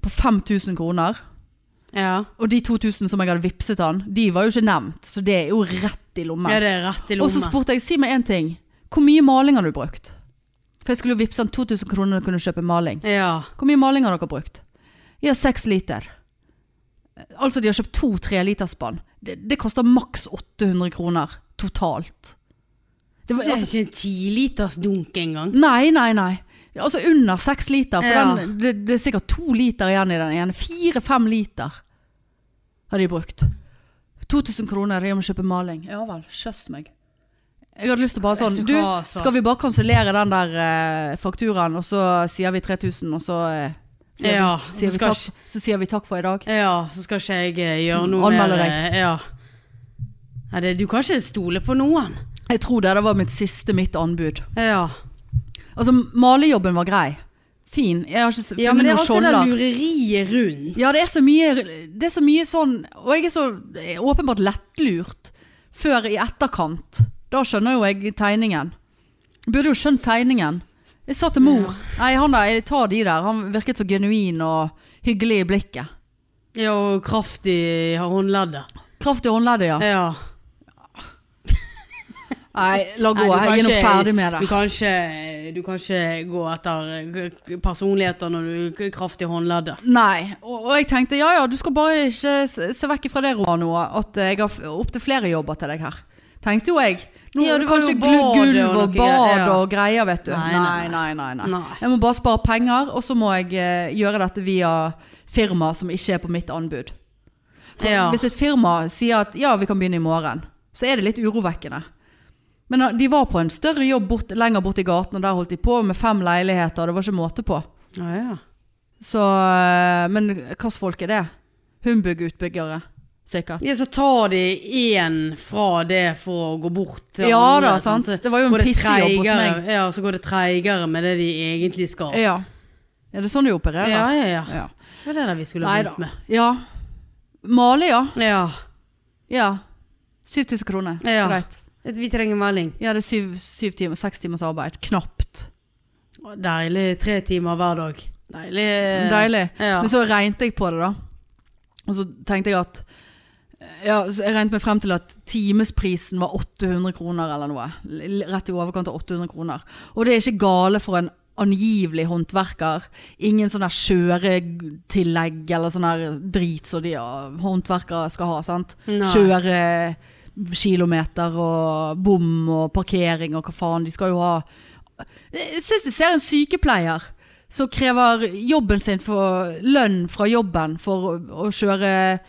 Speaker 2: på 5000 kroner.
Speaker 1: ja.
Speaker 2: Og de 2000 som jeg hadde vippset han, de var jo ikke nevnt. Så det er jo rett i lommen.
Speaker 1: ja, det er rett i
Speaker 2: og så
Speaker 1: lomma.
Speaker 2: spurte jeg, si meg en ting. Hvor mye maling har du brukt? For jeg skulle jo vippse han 2000 kroner og kunne kjøpe maling.
Speaker 1: Ja.
Speaker 2: Hvor mye maling har dere brukt? Ja, seks liter. Altså, de har kjøpt to treliterspann. Det, det koster maks 800 kroner totalt. Det var,
Speaker 1: Det er
Speaker 2: altså,
Speaker 1: ikke en tiliters dunk engang.
Speaker 2: nei, nei, nei. Altså under seks liter, for
Speaker 1: Ja.
Speaker 2: den, det, det er sikkert to liter igjen i den ene. Fire-fem liter har de brukt. 2000 kroner, jeg må kjøpe maling. Ja vel, kjøss meg. Jeg hadde lyst til å bare sånn
Speaker 1: Vet
Speaker 2: Du,
Speaker 1: du hva, altså?»
Speaker 2: skal vi bare kansellere den der eh, fakturaen, og så sier vi 3000, og så eh, sier,
Speaker 1: Ja,
Speaker 2: vi,
Speaker 1: så
Speaker 2: sier, vi
Speaker 1: skal
Speaker 2: takk, så sier vi takk for i dag?
Speaker 1: Ja, så skal ikke jeg eh, gjøre noe
Speaker 2: Anmelde
Speaker 1: mer, eh, Ja. Nei, det, du kan ikke stole på noen.
Speaker 2: Jeg tror det, det var mitt siste mitt anbud.
Speaker 1: Ja.
Speaker 2: Altså, malejobben var grei. Fin. Jeg har ikke s- funnet
Speaker 1: ja men det er
Speaker 2: noen
Speaker 1: alltid det
Speaker 2: skjolder.
Speaker 1: der lureriet rundt.
Speaker 2: Ja, det er så mye, det er så mye sånn Og jeg er så åpenbart lettlurt før i etterkant. Da skjønner jo jeg tegningen. Jeg burde jo skjønt tegningen. Jeg sa til mor Nei, han der, jeg tar de der. Han virket så genuin og hyggelig i blikket.
Speaker 1: Ja, og kraft i håndleddet.
Speaker 2: Kraft i håndleddet, ja.
Speaker 1: Ja.
Speaker 2: Nei, la gå.
Speaker 1: Nei, du kan
Speaker 2: jeg er nå
Speaker 1: ikke-
Speaker 2: ferdig med
Speaker 1: Du
Speaker 2: det.
Speaker 1: kan, ikke, du kan ikke gå etter eh, personligheter når du er kraft i håndleddet.
Speaker 2: Nei. Og, og jeg tenkte ja ja, du skal bare ikke se se vekk ifra det, Romano, at eh, jeg har f- opptil flere jobber til deg her. Tenkte jo jeg. Nå
Speaker 1: Ja,
Speaker 2: ja,
Speaker 1: du
Speaker 2: du
Speaker 1: kan
Speaker 2: kan
Speaker 1: jo
Speaker 2: ikke
Speaker 1: bade og
Speaker 2: gulv
Speaker 1: noe
Speaker 2: og
Speaker 1: greier,
Speaker 2: bad
Speaker 1: ja.
Speaker 2: og greier, vet du.
Speaker 1: Nei,
Speaker 2: Nei,
Speaker 1: nei,
Speaker 2: nei, nei. nei,
Speaker 1: Nei.
Speaker 2: Jeg må bare spare penger, og så må jeg eh, gjøre dette via firma som ikke er på mitt anbud.
Speaker 1: Ja.
Speaker 2: Hvis et firma sier at ja, vi kan begynne i morgen, så er det litt urovekkende. Men eh, de var på en større jobb bort, lenger bort i gaten, og der holdt de på med fem leiligheter, og det var ikke måte på.
Speaker 1: Ja, ja.
Speaker 2: Så, eh, men hvilke folk er det? Humbug-utbyggere, sikkert.
Speaker 1: Ja, så tar de én fra det for å gå bort til
Speaker 2: Ja
Speaker 1: andre,
Speaker 2: da, sant.
Speaker 1: Så
Speaker 2: Det var jo en
Speaker 1: går det
Speaker 2: pissejobb hos
Speaker 1: altså treigere-
Speaker 2: meg.
Speaker 1: Ja, så går det treigere med det de egentlig skal.
Speaker 2: Ja. Er det sånn de
Speaker 1: Ja,
Speaker 2: opererer?
Speaker 1: ja, ja.
Speaker 2: ja.
Speaker 1: Det var det der vi skulle ha
Speaker 2: Nei
Speaker 1: begynt
Speaker 2: da.
Speaker 1: med.
Speaker 2: Ja. Male, ja.
Speaker 1: Ja.
Speaker 2: Ja. 7000 kroner.
Speaker 1: Ja.
Speaker 2: Greit.
Speaker 1: Vi trenger en melding.
Speaker 2: Ja, det er syv, syv timer, seks timers arbeid. Knapt.
Speaker 1: Deilig. Tre timer hver dag. Deilig.
Speaker 2: Deilig.
Speaker 1: Ja.
Speaker 2: Men så regnet jeg på det, da. Og så tenkte jeg at ja, så Jeg regnet meg frem til at timesprisen var 800 kroner eller noe. L- Rett i overkant av 800 kroner. Og det er ikke gale for en angivelig håndverker. Ingen sånn der kjøretillegg eller sånn der drit som de ja, håndverkere skal ha. sant?
Speaker 1: Nei.
Speaker 2: Kjøre kilometer og bom og parkering og hva faen. De skal jo ha Jeg syns jeg Eh, ser en sykepleier som krever jobben sin for lønn fra jobben for å- å kjøre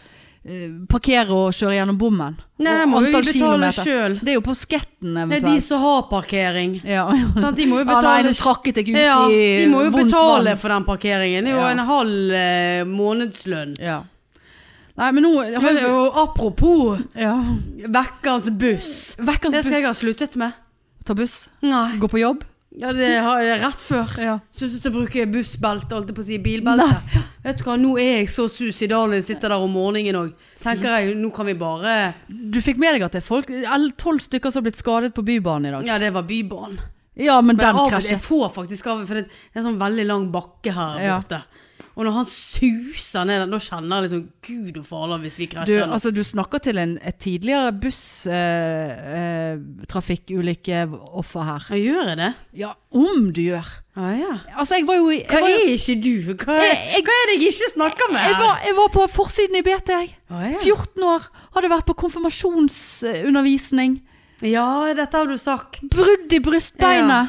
Speaker 2: eh, Parkere og kjøre gjennom bommen.
Speaker 1: Nei,
Speaker 2: Og
Speaker 1: må jo
Speaker 2: antall
Speaker 1: vi betale
Speaker 2: kilometer.
Speaker 1: sjøl.
Speaker 2: Det er jo på skatten
Speaker 1: Det er de
Speaker 2: eventuelt.
Speaker 1: som har parkering.
Speaker 2: Ja.
Speaker 1: Sant? De må jo
Speaker 2: Ja, nei,
Speaker 1: betale
Speaker 2: nå trakket jeg ut
Speaker 1: ja,
Speaker 2: i
Speaker 1: de må jo
Speaker 2: vondt
Speaker 1: betale
Speaker 2: vann.
Speaker 1: for den parkeringen. Det er jo
Speaker 2: Ja.
Speaker 1: en halv eh, månedslønn.
Speaker 2: Ja. Nei, men nå
Speaker 1: Men, og apropos
Speaker 2: ja.
Speaker 1: vekkers buss.
Speaker 2: Vekkers
Speaker 1: Det skal jeg
Speaker 2: buss.
Speaker 1: ha sluttet med.
Speaker 2: Ta buss.
Speaker 1: Nei.
Speaker 2: Gå på jobb.
Speaker 1: Ja, det har jeg rett før.
Speaker 2: Ja.
Speaker 1: Sluttet å bruke bussbelte, holdt jeg på å si. Bilbelte. Vet du hva, nå er jeg så suicidal når jeg sitter der om morgenen òg. Tenker jeg, nå kan vi bare
Speaker 2: Du fikk med deg at det er folk Tolv stykker som har blitt skadet på Bybanen i dag.
Speaker 1: Ja, det var Bybanen.
Speaker 2: Ja, men,
Speaker 1: Men
Speaker 2: den
Speaker 1: av og til- jeg
Speaker 2: krasjet.
Speaker 1: får faktisk av For det det er en sånn veldig lang bakke her
Speaker 2: Ja.
Speaker 1: borte. Og når han suser ned den, da kjenner jeg liksom Gud og fader hvis vi
Speaker 2: Du,
Speaker 1: krasjer. nå.
Speaker 2: altså, du snakker til en, et tidligere eh, busstrafikkulykkeoffer her.
Speaker 1: Ja, gjør jeg det?
Speaker 2: Ja, om du gjør.
Speaker 1: Ja, ja.
Speaker 2: Altså, jeg var jo i-
Speaker 1: Hva
Speaker 2: jeg var, jo-
Speaker 1: er ikke du? Hva er, hva er det jeg ikke snakker med?
Speaker 2: jeg var, jeg var på forsiden i BT, jeg.
Speaker 1: Å, ja.
Speaker 2: 14 år. Hadde vært på konfirmasjonsundervisning.
Speaker 1: ja, dette har du sagt.
Speaker 2: Brudd i brystbeinet.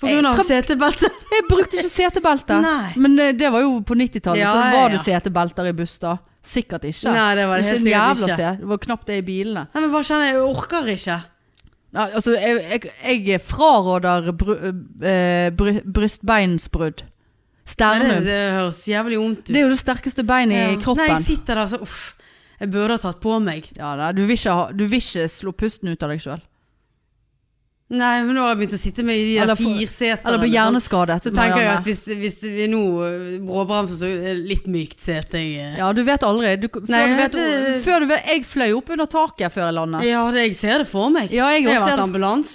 Speaker 2: På grunn av
Speaker 1: Fra-
Speaker 2: setebelte. Jeg brukte ikke setebelte.
Speaker 1: Nei.
Speaker 2: Men eh, det var jo på 90-tallet,
Speaker 1: Ja,
Speaker 2: så
Speaker 1: ja,
Speaker 2: var det
Speaker 1: ja.
Speaker 2: setebelter i buss da. Sikkert ikke.
Speaker 1: Nei, det var det helt
Speaker 2: en
Speaker 1: sikkert
Speaker 2: jævla
Speaker 1: ikke.
Speaker 2: Se. Det var knapt det i bilene.
Speaker 1: Nei, men bare kjenner, jeg orker ikke.
Speaker 2: Ja, altså, jeg, jeg, jeg fraråder bru, eh, bry, brystbeinsbrudd.
Speaker 1: Nei, det,
Speaker 2: Sternum.
Speaker 1: det høres jævlig vondt ut.
Speaker 2: Det er jo det sterkeste beinet i
Speaker 1: Ja.
Speaker 2: kroppen.
Speaker 1: Nei, jeg sitter der så uff. Jeg burde ha tatt på meg.
Speaker 2: ja, nei, du, vil ikke ha, du vil ikke slå pusten ut av deg sjøl.
Speaker 1: Nei, men nå har jeg begynt å sitte med i de
Speaker 2: Eller
Speaker 1: der
Speaker 2: få-
Speaker 1: firseterne.
Speaker 2: Eller bli
Speaker 1: sånn.
Speaker 2: hjerneskadet.
Speaker 1: Så tenker jeg
Speaker 2: Marianne.
Speaker 1: at hvis, hvis vi nå eh, bråbremser, så er det litt mykt sete jeg eh.
Speaker 2: Ja, du vet aldri. Du, før,
Speaker 1: Nei,
Speaker 2: du vet,
Speaker 1: det-
Speaker 2: før du vet Jeg fløy opp under taket før jeg landet.
Speaker 1: Ja, det, jeg ser det for meg.
Speaker 2: Ja, jeg
Speaker 1: har
Speaker 2: også ser
Speaker 1: vært
Speaker 2: det-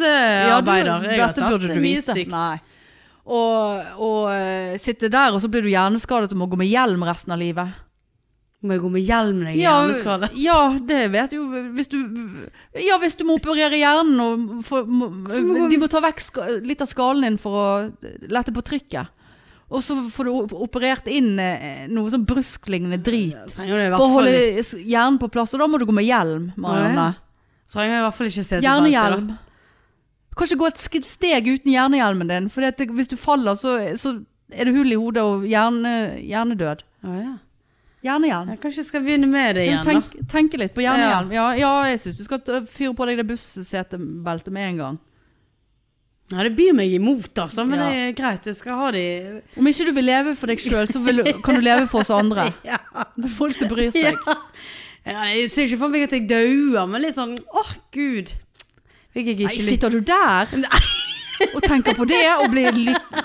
Speaker 1: ambulansearbeider.
Speaker 2: du-
Speaker 1: jeg har
Speaker 2: dette
Speaker 1: sett
Speaker 2: burde du
Speaker 1: mye
Speaker 2: vite.
Speaker 1: stygt.
Speaker 2: Nei. Og, og eh, sitte der, og så blir du hjerneskadet og må gå med hjelm resten av livet.
Speaker 1: Må jeg gå med hjelm når jeg er hjerneskade?
Speaker 2: ja, det vet jo hvis du, Ja, hvis du må operere hjernen og få- må,
Speaker 1: må-
Speaker 2: De må ta vekk ska, litt av skallen din for å lette på trykket. Og så får du op- operert inn eh, noe sånn brusklignende drit.
Speaker 1: Trenger det i
Speaker 2: For å
Speaker 1: hvert fall,
Speaker 2: holde s- hjernen på plass, og da må du gå med hjelm, Marianne.
Speaker 1: trenger det i hvert fall ikke sete.
Speaker 2: Hjernehjelm. Kanskje gå et sk- steg uten hjernehjelmen din, for hvis du faller, så, så er det hull i hodet og hjerne, hjernedød.
Speaker 1: Ja, ja.
Speaker 2: Hjernehjelm.
Speaker 1: Jeg kanskje skal begynne med det
Speaker 2: Du
Speaker 1: igjen, da.
Speaker 2: Tenk, tenke litt på hjernehjelm. Ja, ja jeg syns du skal t- fyre på deg det bussetebeltet med en gang.
Speaker 1: Nei, det byr meg imot, altså. Men
Speaker 2: Ja.
Speaker 1: det er greit. Jeg skal ha de
Speaker 2: Om ikke du vil leve for deg sjøl, så vil, du- kan du leve for oss andre.
Speaker 1: Ja.
Speaker 2: Det er folk som bryr
Speaker 1: ja.
Speaker 2: seg.
Speaker 1: Jeg ser ikke for meg at jeg dauer, men litt sånn åh, gud. Fikk jeg
Speaker 2: Nei,
Speaker 1: ikke lykke
Speaker 2: sitter du der og tenker på det, og blir lyk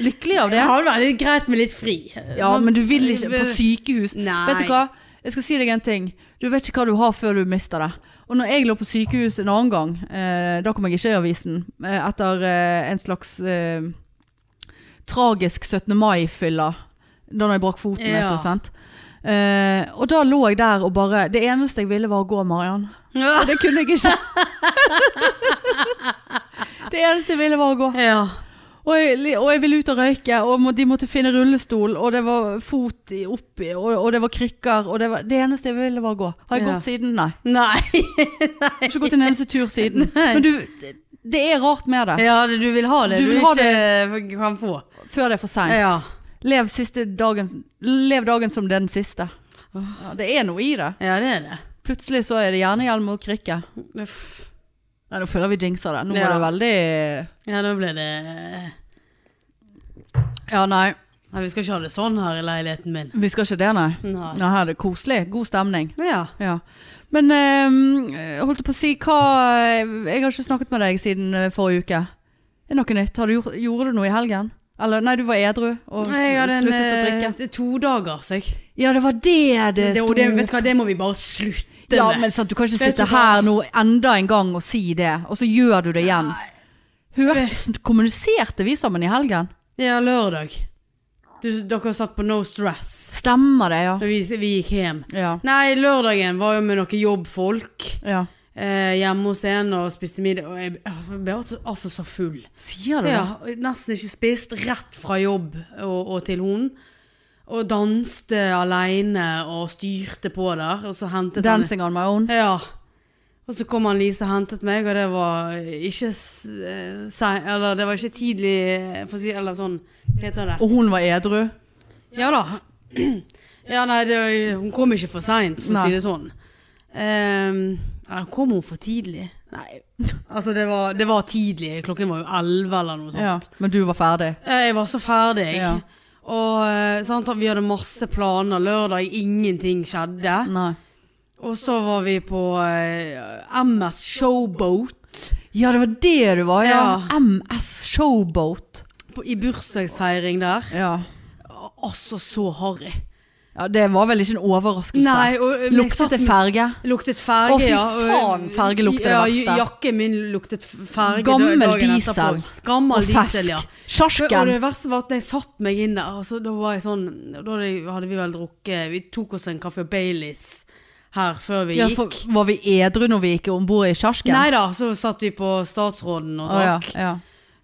Speaker 2: lykkelig av
Speaker 1: Det
Speaker 2: det?
Speaker 1: hadde vært litt greit med litt fri.
Speaker 2: Ja, men du vil ikke på sykehus.
Speaker 1: Nei.
Speaker 2: Vet du hva? Jeg skal si deg en ting. Du vet ikke hva du har før du mister det. Og når jeg lå på sykehus en annen gang, eh, da kom jeg ikke i avisen, eh, etter eh, en slags eh, tragisk 17. mai-fylla, da når jeg brakk foten,
Speaker 1: Ja.
Speaker 2: vet du, sant? Eh, og da lå jeg der og bare Det eneste jeg ville var å gå, Mariann. Og Det kunne jeg ikke. det eneste jeg ville var å gå.
Speaker 1: Ja.
Speaker 2: Og jeg, og jeg ville ut og røyke, og må, de måtte finne rullestol, og det var fot i- oppi, og, og det var krykker, og det var Det eneste jeg ville var å gå. Har jeg
Speaker 1: Ja.
Speaker 2: gått siden? Nei.
Speaker 1: Nei.
Speaker 2: Jeg har ikke gått en eneste tur siden.
Speaker 1: Nei.
Speaker 2: Men du, det er rart med det.
Speaker 1: Ja, det- du vil ha det
Speaker 2: Du
Speaker 1: du,
Speaker 2: vil
Speaker 1: vil
Speaker 2: ha
Speaker 1: ikke kan få.
Speaker 2: Før det er for seint.
Speaker 1: Ja.
Speaker 2: Lev, siste dagen- lev dagen som den siste. Ja, det er noe i det.
Speaker 1: ja, det er det.
Speaker 2: Plutselig så er det hjernehjelm og krykke.
Speaker 1: Uff.
Speaker 2: Nei, nå føler vi jinxer det. Nå
Speaker 1: Ja.
Speaker 2: var det veldig
Speaker 1: Ja, nå ble det
Speaker 2: Ja, nei.
Speaker 1: Nei, vi skal ikke ha det sånn her i leiligheten min.
Speaker 2: Vi skal ikke det, nei.
Speaker 1: Nei.
Speaker 2: Nei, her er det koselig. God stemning.
Speaker 1: Ja.
Speaker 2: Ja. Men ehm, jeg holdt på å si hva Jeg har ikke snakket med deg siden eh, forrige uke. Er det noe nytt? Har du gjort, gjorde du noe i helgen? Eller nei, du var edru og
Speaker 1: Jeg hadde en
Speaker 2: sluttet å drikke.
Speaker 1: eh, to dager, så jeg.
Speaker 2: Ja, det var det det
Speaker 1: Det,
Speaker 2: sto
Speaker 1: og det, vet du hva, det må vi bare slutte
Speaker 2: Ja,
Speaker 1: med.
Speaker 2: men sant, du kan ikke
Speaker 1: Vet
Speaker 2: sitte
Speaker 1: du hva?
Speaker 2: her nå enda en gang og si det, og så gjør du det igjen. Hørte, kommuniserte vi sammen i helgen?
Speaker 1: Ja, lørdag. Du, dere satt på No Stress.
Speaker 2: Stemmer det, ja.
Speaker 1: Og Vi, vi gikk hjem.
Speaker 2: Ja.
Speaker 1: Nei, lørdagen var jo med noen jobbfolk
Speaker 2: ja.
Speaker 1: eh, hjemme hos en og spiste middag. Og jeg jeg ble altså, altså så full.
Speaker 2: Sier du det?
Speaker 1: Ja, og nesten ikke spist. Rett fra jobb og, og til hun. Og danste aleine og styrte på der. Og så hentet han
Speaker 2: Dancing on my own.
Speaker 1: Ja. Og så kom han Lise og hentet meg, og det var ikke s- eh, sein... Eller det var ikke tidlig, eh, for å si Eller sånn, hva heter det?
Speaker 2: Og hun var edru.
Speaker 1: Ja da. Ja, nei, det, hun kom ikke for seint, for å
Speaker 2: Nei.
Speaker 1: si det sånn. Ehm, eller kom hun for tidlig? Nei. Altså, det var, det var tidlig. Klokken var jo elleve eller noe sånt. Eh,
Speaker 2: Ja. Men du var ferdig.
Speaker 1: Jeg var så ferdig.
Speaker 2: Ja.
Speaker 1: Og eh, sant, og vi hadde masse planer. Lørdag, ingenting skjedde.
Speaker 2: Nei.
Speaker 1: Og så var vi på eh, MS Showboat
Speaker 2: Ja, det var det du var, ja.
Speaker 1: Ja.
Speaker 2: MS Showboat.
Speaker 1: på, i bursdagsfeiring der.
Speaker 2: Ja.
Speaker 1: Altså, så harry.
Speaker 2: det var vel ikke en overraskelse.
Speaker 1: Nei, og men jeg satt
Speaker 2: Luktet det ferge?
Speaker 1: Luktet ferge,
Speaker 2: Å, fy
Speaker 1: ja. og-
Speaker 2: faen, ferge lukter det
Speaker 1: ja,
Speaker 2: verste.
Speaker 1: Ja, jakken min luktet ferge da-
Speaker 2: Gammel
Speaker 1: dagen etterpå.
Speaker 2: diesel.
Speaker 1: Gammel
Speaker 2: Og
Speaker 1: diesel,
Speaker 2: fesk.
Speaker 1: ja. Og
Speaker 2: Sjarsken.
Speaker 1: det verste var at jeg satt meg inn der, altså, da var jeg sånn, da hadde- hadde vi vel drukket, vi tok oss en kaffe og Baileys her før vi
Speaker 2: Ja,
Speaker 1: gikk.
Speaker 2: for, var vi edru når vi gikk om bord i sjarsken?
Speaker 1: Neida, så satt vi på statsråden og
Speaker 2: Å, ja,
Speaker 1: drakk.
Speaker 2: ja.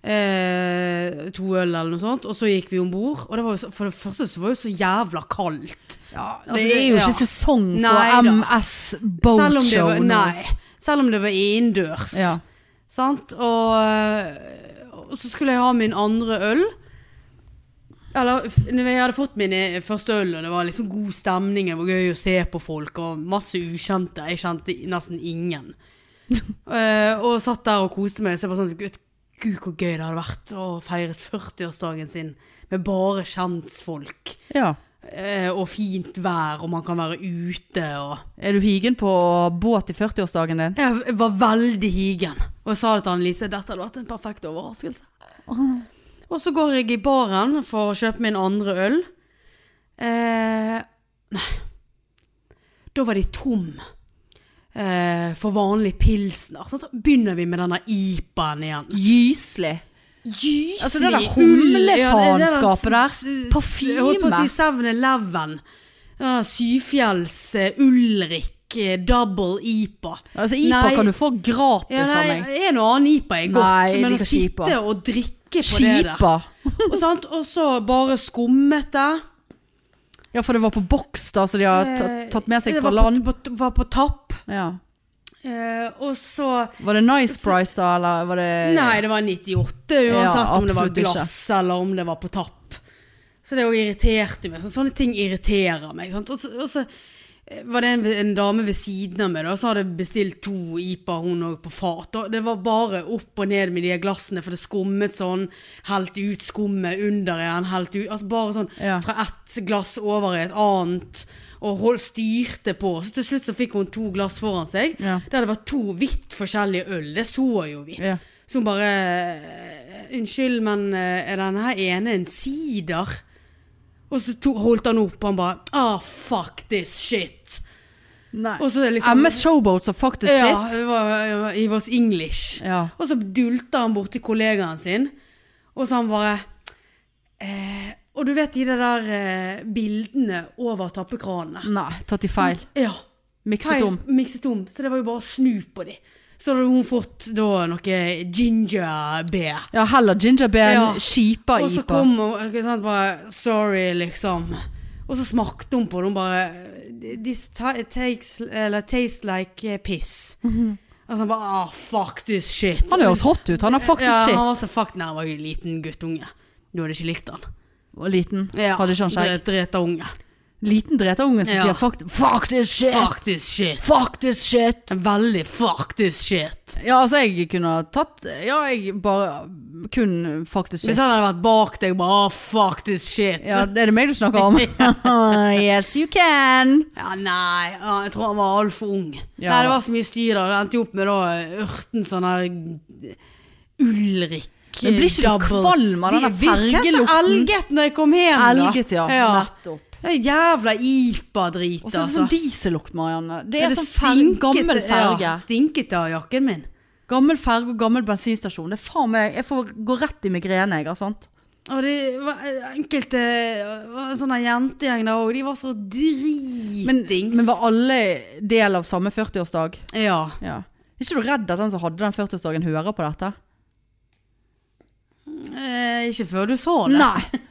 Speaker 1: eh, to øl eller noe sånt, og så gikk vi ombord, og det var jo så, for det første så var det jo så jævla kaldt.
Speaker 2: det
Speaker 1: altså,
Speaker 2: er jo
Speaker 1: ja.
Speaker 2: ikke sesong for
Speaker 1: Nei da.
Speaker 2: MS
Speaker 1: Selv om det
Speaker 2: Boatshow
Speaker 1: var,
Speaker 2: nå.
Speaker 1: nei, selv om det var innendørs.
Speaker 2: Ja.
Speaker 1: Sant? Og, eh, og Og så skulle jeg ha min andre øl. Eller f- når jeg hadde fått min eh, første øl, og det var liksom god stemning, det var gøy å se på folk, og masse ukjente. Jeg kjente nesten ingen. Eh, og satt der og koste meg. Så jeg bare sånn Gud, gud, hvor gøy det hadde vært å feire 40-årsdagen sin med bare kjentfolk.
Speaker 2: Ja.
Speaker 1: Eh, og fint vær, og man kan være ute og
Speaker 2: Er du higen på båt i 40-årsdagen din?
Speaker 1: Jeg jeg var veldig higen. Og jeg sa det til Annelise, dette hadde vært en perfekt overraskelse. Og så går jeg i baren for å kjøpe min andre øl. Eh, nei. Da var de tom eh, for vanlig pilsner. Så da begynner vi med denne IPA-en igjen.
Speaker 2: Gyselig.
Speaker 1: Gyselig!
Speaker 2: Altså, det der humlefaenskapet der. Parfyme.
Speaker 1: Jeg holdt på å si 7-Eleven. Den der Syfjells eh, Ulrik eh, Double IPA.
Speaker 2: Altså, IPA
Speaker 1: Nei.
Speaker 2: kan du få gratis
Speaker 1: Ja,
Speaker 2: av
Speaker 1: nei,
Speaker 2: meg.
Speaker 1: en og annen IPA er godt,
Speaker 2: Nei, jeg
Speaker 1: men å
Speaker 2: liker ikke
Speaker 1: sitte
Speaker 2: IPA.
Speaker 1: og drikke på det der.
Speaker 2: Skipa.
Speaker 1: Og, sant? og så bare skummet det.
Speaker 2: Ja, for det var på boks, da, så de har
Speaker 1: Eh,
Speaker 2: tatt- tatt med seg
Speaker 1: det var
Speaker 2: fra
Speaker 1: på-
Speaker 2: land.
Speaker 1: på- Var på tapp.
Speaker 2: Ja.
Speaker 1: Eh, og så
Speaker 2: Var det Nice Price, da, eller var det
Speaker 1: Nei, det var 98 uansett
Speaker 2: Eh, Ja,
Speaker 1: om det var
Speaker 2: absolutt ikke.
Speaker 1: glass eller om det var på tapp. Så det også irriterte meg. Så sånne ting irriterer meg. Sant? Og så- Og så eh, var det en, en dame ved siden av meg da, som hadde bestilt to IPA, hun òg, på fat. Og det var bare opp og ned med de glassene, for det skummet sånn. Helte ut skummet under igjen, helte ut altså Bare sånn
Speaker 2: Ja.
Speaker 1: fra ett glass over i et annet. Og hold, styrte på. Så til slutt så fikk hun to glass foran seg.
Speaker 2: Ja.
Speaker 1: Der det var to vidt forskjellige øl. Det så jo vi.
Speaker 2: Ja.
Speaker 1: Så hun bare eh, Unnskyld, men eh, er denne her ene en sider? Og så to, holdt han opp, og han bare Ah, fuck this shit. Og så er det liksom
Speaker 2: MS Showboat som faktisk
Speaker 1: Ja,
Speaker 2: shit.
Speaker 1: det var- he was English.
Speaker 2: Ja.
Speaker 1: Og så dulter han bort til kollegaen sin, og så han bare eh, Og du vet de der eh, bildene over tappekranene?
Speaker 2: Nei, tatt i feil.
Speaker 1: Ja.
Speaker 2: Mikset om.
Speaker 1: Feil, mikset om. Så det var jo bare å snu på de. Så hadde hun fått da noe gingerbær.
Speaker 2: Ja, heller gingerbeer
Speaker 1: Ja.
Speaker 2: enn skipa
Speaker 1: Og så
Speaker 2: IPA.
Speaker 1: kom hun ikke sant, bare Sorry, liksom. Og så smakte hun på det. Hun bare This ta takes, eller, tastes like eh, piss. Og så bare Ah, fuck this shit.
Speaker 2: Mhm. Han høres hot ut. Han har faktisk
Speaker 1: ja,
Speaker 2: shit.
Speaker 1: Han var så fuck Nei, han var jo en liten guttunge. Du hadde ikke likt han.
Speaker 2: Og liten.
Speaker 1: Ja,
Speaker 2: Hadde ikke han skjegg.
Speaker 1: dre- Dreta unge.
Speaker 2: Liten dreterunge som
Speaker 1: Ja.
Speaker 2: sier fuck, fuck this shit! Fuck.
Speaker 1: Fuck this shit.
Speaker 2: this shit!
Speaker 1: En veldig fuck this shit.
Speaker 2: Ja, altså, jeg kunne ha tatt Ja, jeg bare kun fuck this
Speaker 1: Hvis
Speaker 2: shit.
Speaker 1: han hadde vært bak deg, bare ah, fuck this shit.
Speaker 2: Ja, det er det meg du snakker om? yes, you can!
Speaker 1: Ja, nei, ja, jeg tror han var altfor ung.
Speaker 2: Ja,
Speaker 1: nei, det
Speaker 2: da.
Speaker 1: var så mye styr da. Det endte jo opp med da ørten sånn her Ulrik.
Speaker 2: Men blir ikke du
Speaker 1: double.
Speaker 2: kvalm av denne
Speaker 1: Vi- vi- hvem som
Speaker 2: fergelukten?
Speaker 1: elget når jeg kom hjem, da?
Speaker 2: Elget, ja.
Speaker 1: ja.
Speaker 2: Nettopp.
Speaker 1: Det er Jævla IPA-drit,
Speaker 2: Og så er det
Speaker 1: altså.
Speaker 2: sånn diesellukt, Marianne. Det
Speaker 1: Ja,
Speaker 2: er, sånn fer
Speaker 1: stinket-
Speaker 2: gammel ferge.
Speaker 1: Ja, stinket av jakken min.
Speaker 2: Gammel ferge og gammel bensinstasjon. Det er faen meg Jeg får gå rett i migrene, jeg, altså. har sant?
Speaker 1: Og det var enkelte det var en sånn her jentegjeng der òg. De var så
Speaker 2: Men,
Speaker 1: dritings.
Speaker 2: men var alle del av samme 40-årsdag?
Speaker 1: Ja.
Speaker 2: Ja. Er ikke du redd at den som hadde den 40-årsdagen, hører på dette?
Speaker 1: Eh, ikke før du så det.
Speaker 2: Nei.